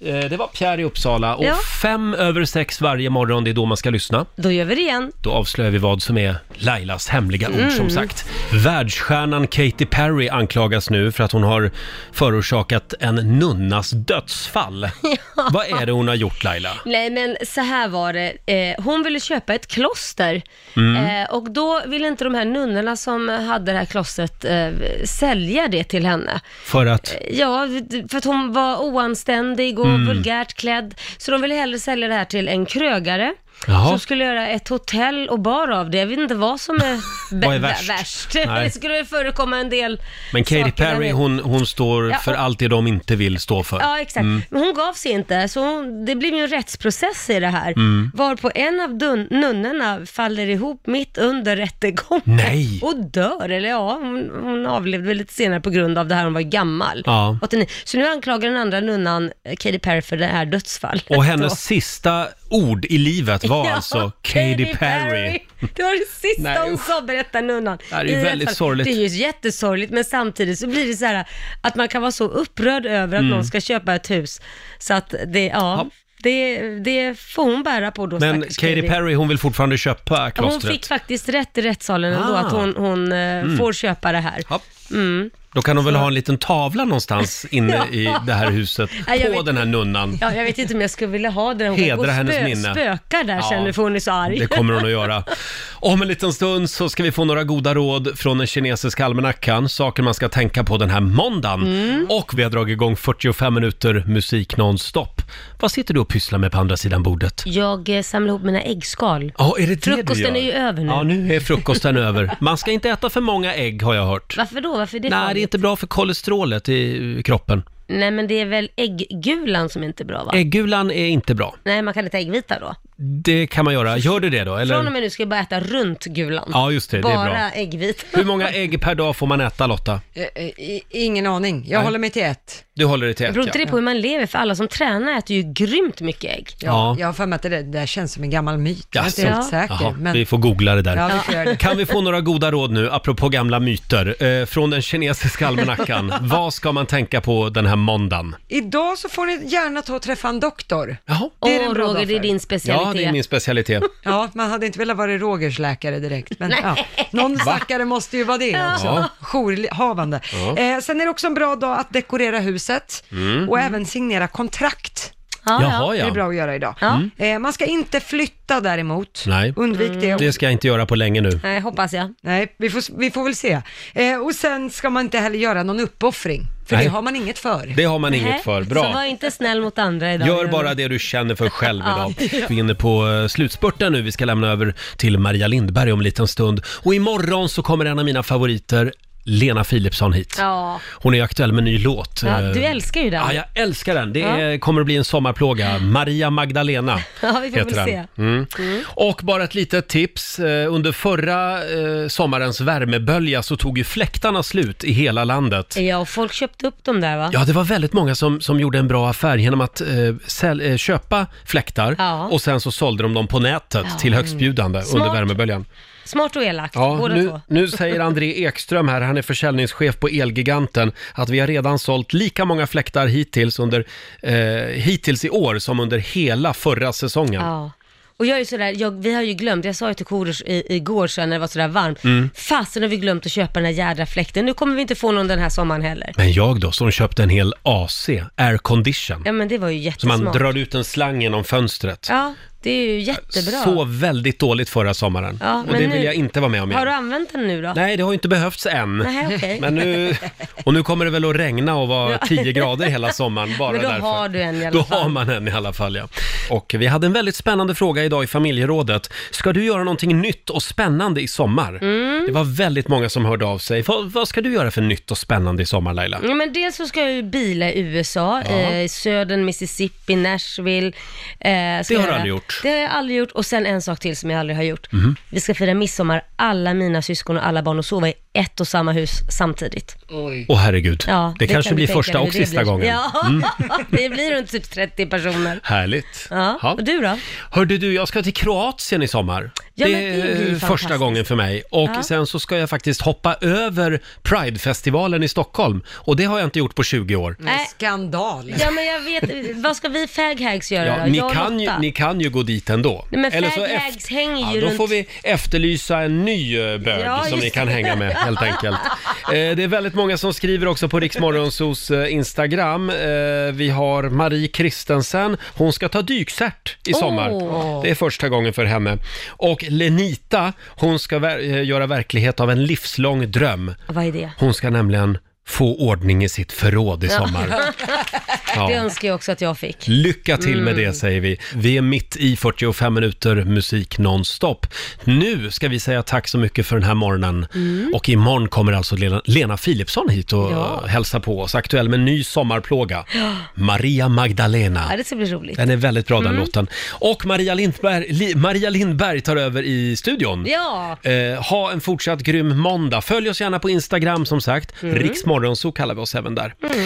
Eh, Det var Pierre i Uppsala och Ja. fem över sex varje morgon, det är då man ska lyssna. Då gör vi det igen. Då avslöjar vi vad som är Lailas hemliga ord som Mm. sagt. Världsstjärnan Katy Perry anklagas nu för att hon har förorsakat en nunnas dödsfall. Vad är det hon har gjort Laila? Nej men så här var det, eh, hon ville köpa ett kloster Mm. eh, och då ville inte de här nunnorna som hade det här klostret eh, sälja det till henne. För att... Ja, för att hon var oanständig och Mm. vulgärt klädd. Så de ville hellre sälja det här till en krögare. Jaha. Som skulle göra ett hotell och bar av det. Jag vet inte vad som är, Vad är vä- värst? värst. Nej. Det skulle förekomma en del Men Katy saker där Perry nere. hon, hon står Ja, för och- allt det de inte vill stå för. Ja, exakt. Mm. Men hon gav sig inte, så hon, det blev ju en rättsprocess i det här. Mm. Varpå en av dun- nunnorna faller ihop mitt under rättegången. Nej. Och dör, eller ja, hon, hon avlevde väl lite senare på grund av det här, hon var ju gammal. Ja. 89. Så nu anklagar den andra nunnan eh, Katy Perry för det här dödsfallet. Och då. hennes sista ord i livet var alltså Katy Perry. Det var det sista Nej, hon sa, berättar nunnan. Det här är ju I alla väldigt fall. sorgligt. Det är ju jättesorgligt, men samtidigt så blir det så här att man kan vara så upprörd över att Mm. någon ska köpa ett hus. Så att det, ja, Det, det får hon bära på då, Men stackars Katy Perry, hon vill fortfarande köpa Ja, Hon klostret. fick faktiskt rätt i rättssalen ändå, Ah. att hon, hon eh, Mm. får köpa det här. Mm. Då kan hon väl ha en liten tavla någonstans inne Ja. i det här huset Nej, jag på vet- den här nunnan. Ja, jag vet inte om jag skulle vilja ha det. Hon Hedra kan gå och hennes spö, minne. spökar där Ja. känner du, för hon är så arg. Det kommer hon att göra. Om en liten stund så ska vi få några goda råd från den kinesiska almanackan, saker man ska tänka på den här måndagen. Mm. Och vi har dragit igång 45 minuter musik nonstop. Vad sitter du och pysslar med på andra sidan bordet? Jag eh, samlar ihop mina äggskal. Ja, är det det du Frukosten gör? är ju över nu. Ja, nu är frukosten över. Man ska inte äta för många ägg har jag hört. Varför då? Varför är det Nej, det är farligt? inte bra för kolesterolet i kroppen. Nej, men det är väl ägggulan som inte är bra va? Äggulan är inte bra. Nej, man kan inte äggvita då. Det kan man göra. Gör du det då? Eller? Från och med nu ska jag bara äta runt gulan. Ja, just det. Det är bara bra. äggvita. Hur många ägg per dag får man äta Lotta? Eh, Ingen aning. Jag Nej. håller mig till ett. Du håller dig till Det ett beror inte det på hur man lever, för alla som tränar äter ju grymt mycket ägg. Ja, Ja. Jag har för mig att det där- det där känns som en gammal myt. Jag är inte Jaså? helt säker. Jaha, men... Vi får googla det där. Ja, vi får göra det. Kan vi få några goda råd nu, apropå gamla myter, eh, från den kinesiska almanackan? Vad ska man tänka på den här måndagen? Idag så får ni gärna ta och träffa en doktor. Åh, en bra Roger, dag det är för. din Ja, det är min specialitet. Ja, man hade inte velat vara Rogers läkare direkt. Men, ja. Någon Va? stackare måste ju vara det Ja. också. Jourhavande. Ja. Eh, sen är det också en bra dag att dekorera huset Mm. och även signera kontrakt. Ja, Jaha, ja. Det är bra att göra idag. Ja. Mm. Eh, man ska inte flytta däremot. Nej, Undvik det. det ska jag inte göra på länge nu. Nej, hoppas jag. Nej, vi får, vi får väl se. Eh, och sen ska man inte heller göra någon uppoffring, för Nej. det har man inget för. Det har man inget för. Så var Bra. inte snäll mot andra idag. Gör bara det du känner för själv Ja. idag. Vi är inne på eh, slutspurten nu. Vi ska lämna över till Maria Lindberg om en liten stund. Och imorgon så kommer en av mina favoriter, Lena Philipsson hit. Ja. Hon är aktuell med en ny låt. ja. Eh, Du älskar ju den. Ja, jag älskar den. Det Ja. är, kommer att bli en sommarplåga. Maria Magdalena Ja, vi får heter väl den. se. Mm. Och bara ett litet tips. Eh, Under förra eh, sommarens värmebölja så tog ju fläktarna slut i hela landet. Ja, och folk köpte upp dem där va? Ja, det var väldigt många som, som gjorde en bra affär genom att eh, säl, eh, köpa fläktar Ja. och sen så sålde de dem på nätet Ja. till högstbjudande Mm. under Smart. värmeböljan. Smart och elakt, Ja, båda nu, två. nu säger André Ekström här, han är försäljningschef på Elgiganten, att vi har redan sålt lika många fläktar hittills, under, eh, hittills i år som under hela förra säsongen. Ja. Och jag är ju sådär, jag, vi har ju glömt, jag sa ju till Korosh i- igår sen när det var sådär varmt, Mm. fasen har vi glömt att köpa den här jädra fläkten, nu kommer vi inte få någon den här sommaren heller. Men jag då, som köpte en hel AC, aircondition, Ja men det var ju så man jättesmart. drar ut en slang genom fönstret. Ja, det är ju jättebra. Sov väldigt dåligt förra sommaren Ja, och men det vill nu- jag inte vara med om Har igen. du använt den nu då? Nej, det har ju inte behövts än. Nej, okej. Men nu, och nu kommer det väl att regna och vara Ja. 10 grader hela sommaren bara Men då därför. har du en i alla Då fall. har man en i alla fall, ja. Och vi hade en väldigt spännande fråga idag i familjerådet. Ska du göra någonting nytt och spännande i sommar? Mm. Det var väldigt många som hörde av sig. Vad, vad ska du göra för nytt och spännande i sommar, Laila? Ja, men dels så ska jag ju bila i USA, Ja. eh, i södern, Mississippi, Nashville. Eh, ska Det har jag du göra. aldrig gjort. Det har jag aldrig gjort. Och sen en sak till som jag aldrig har gjort. Mhm. Vi ska fira midsommar, alla mina syskon och alla barn och sova i ett och samma hus samtidigt. Åh herregud, det, kanske kan du blir tänka första dig hur och det sista blir. gången. Ja, Mm. det blir runt typ 30 personer. Härligt. Ja. Ja. Och du då? Hörde du, jag ska till Kroatien i sommar. Ja, det men det blir är första fantastiskt. gången för mig. Och Ja. sen så ska jag faktiskt hoppa över Pridefestivalen i Stockholm. Och det har jag inte gjort på 20 år. Nej. Skandal. Ja, men jag vet, vad ska vi faghags göra Ja, då? ni, Eh, Jag och kan ju, Lotta. ni kan ju gå dit ändå. Nej, men Eller så faghags hänger Ja, ju då runt... får vi efterlysa en ny eh, bög Ja, som just ni kan det. hänga med helt enkelt. Eh, det är väldigt många som skriver också på Riksmorgonsos eh, Instagram. Eh, vi har Marie Kristensen. Hon ska ta dykcert i sommar. Åh. Det är första gången för henne. Och Lenita, hon ska ver- eh, göra verklighet av en livslång dröm. Vad är det? Hon ska nämligen få ordning i sitt förråd i sommar. Ja. Det önskar jag också att jag fick. Lycka till med Mm. det säger vi. Vi är mitt i 45 minuter musik nonstop. Nu ska vi säga tack så mycket för den här morgonen. Mm. Och imorgon kommer alltså Lena, Lena Philipsson hit och Ja. hälsa på oss. Aktuell med en ny sommarplåga. Maria Magdalena. Ja, det ska bli roligt. Den är väldigt bra den Mm. låten. Och Maria Lindberg, Li, Maria Lindberg tar över i studion. Ja. Eh, ha en fortsatt grym måndag. Följ oss gärna på Instagram som sagt. Mm. Riksmorgon så kallar vi oss även där.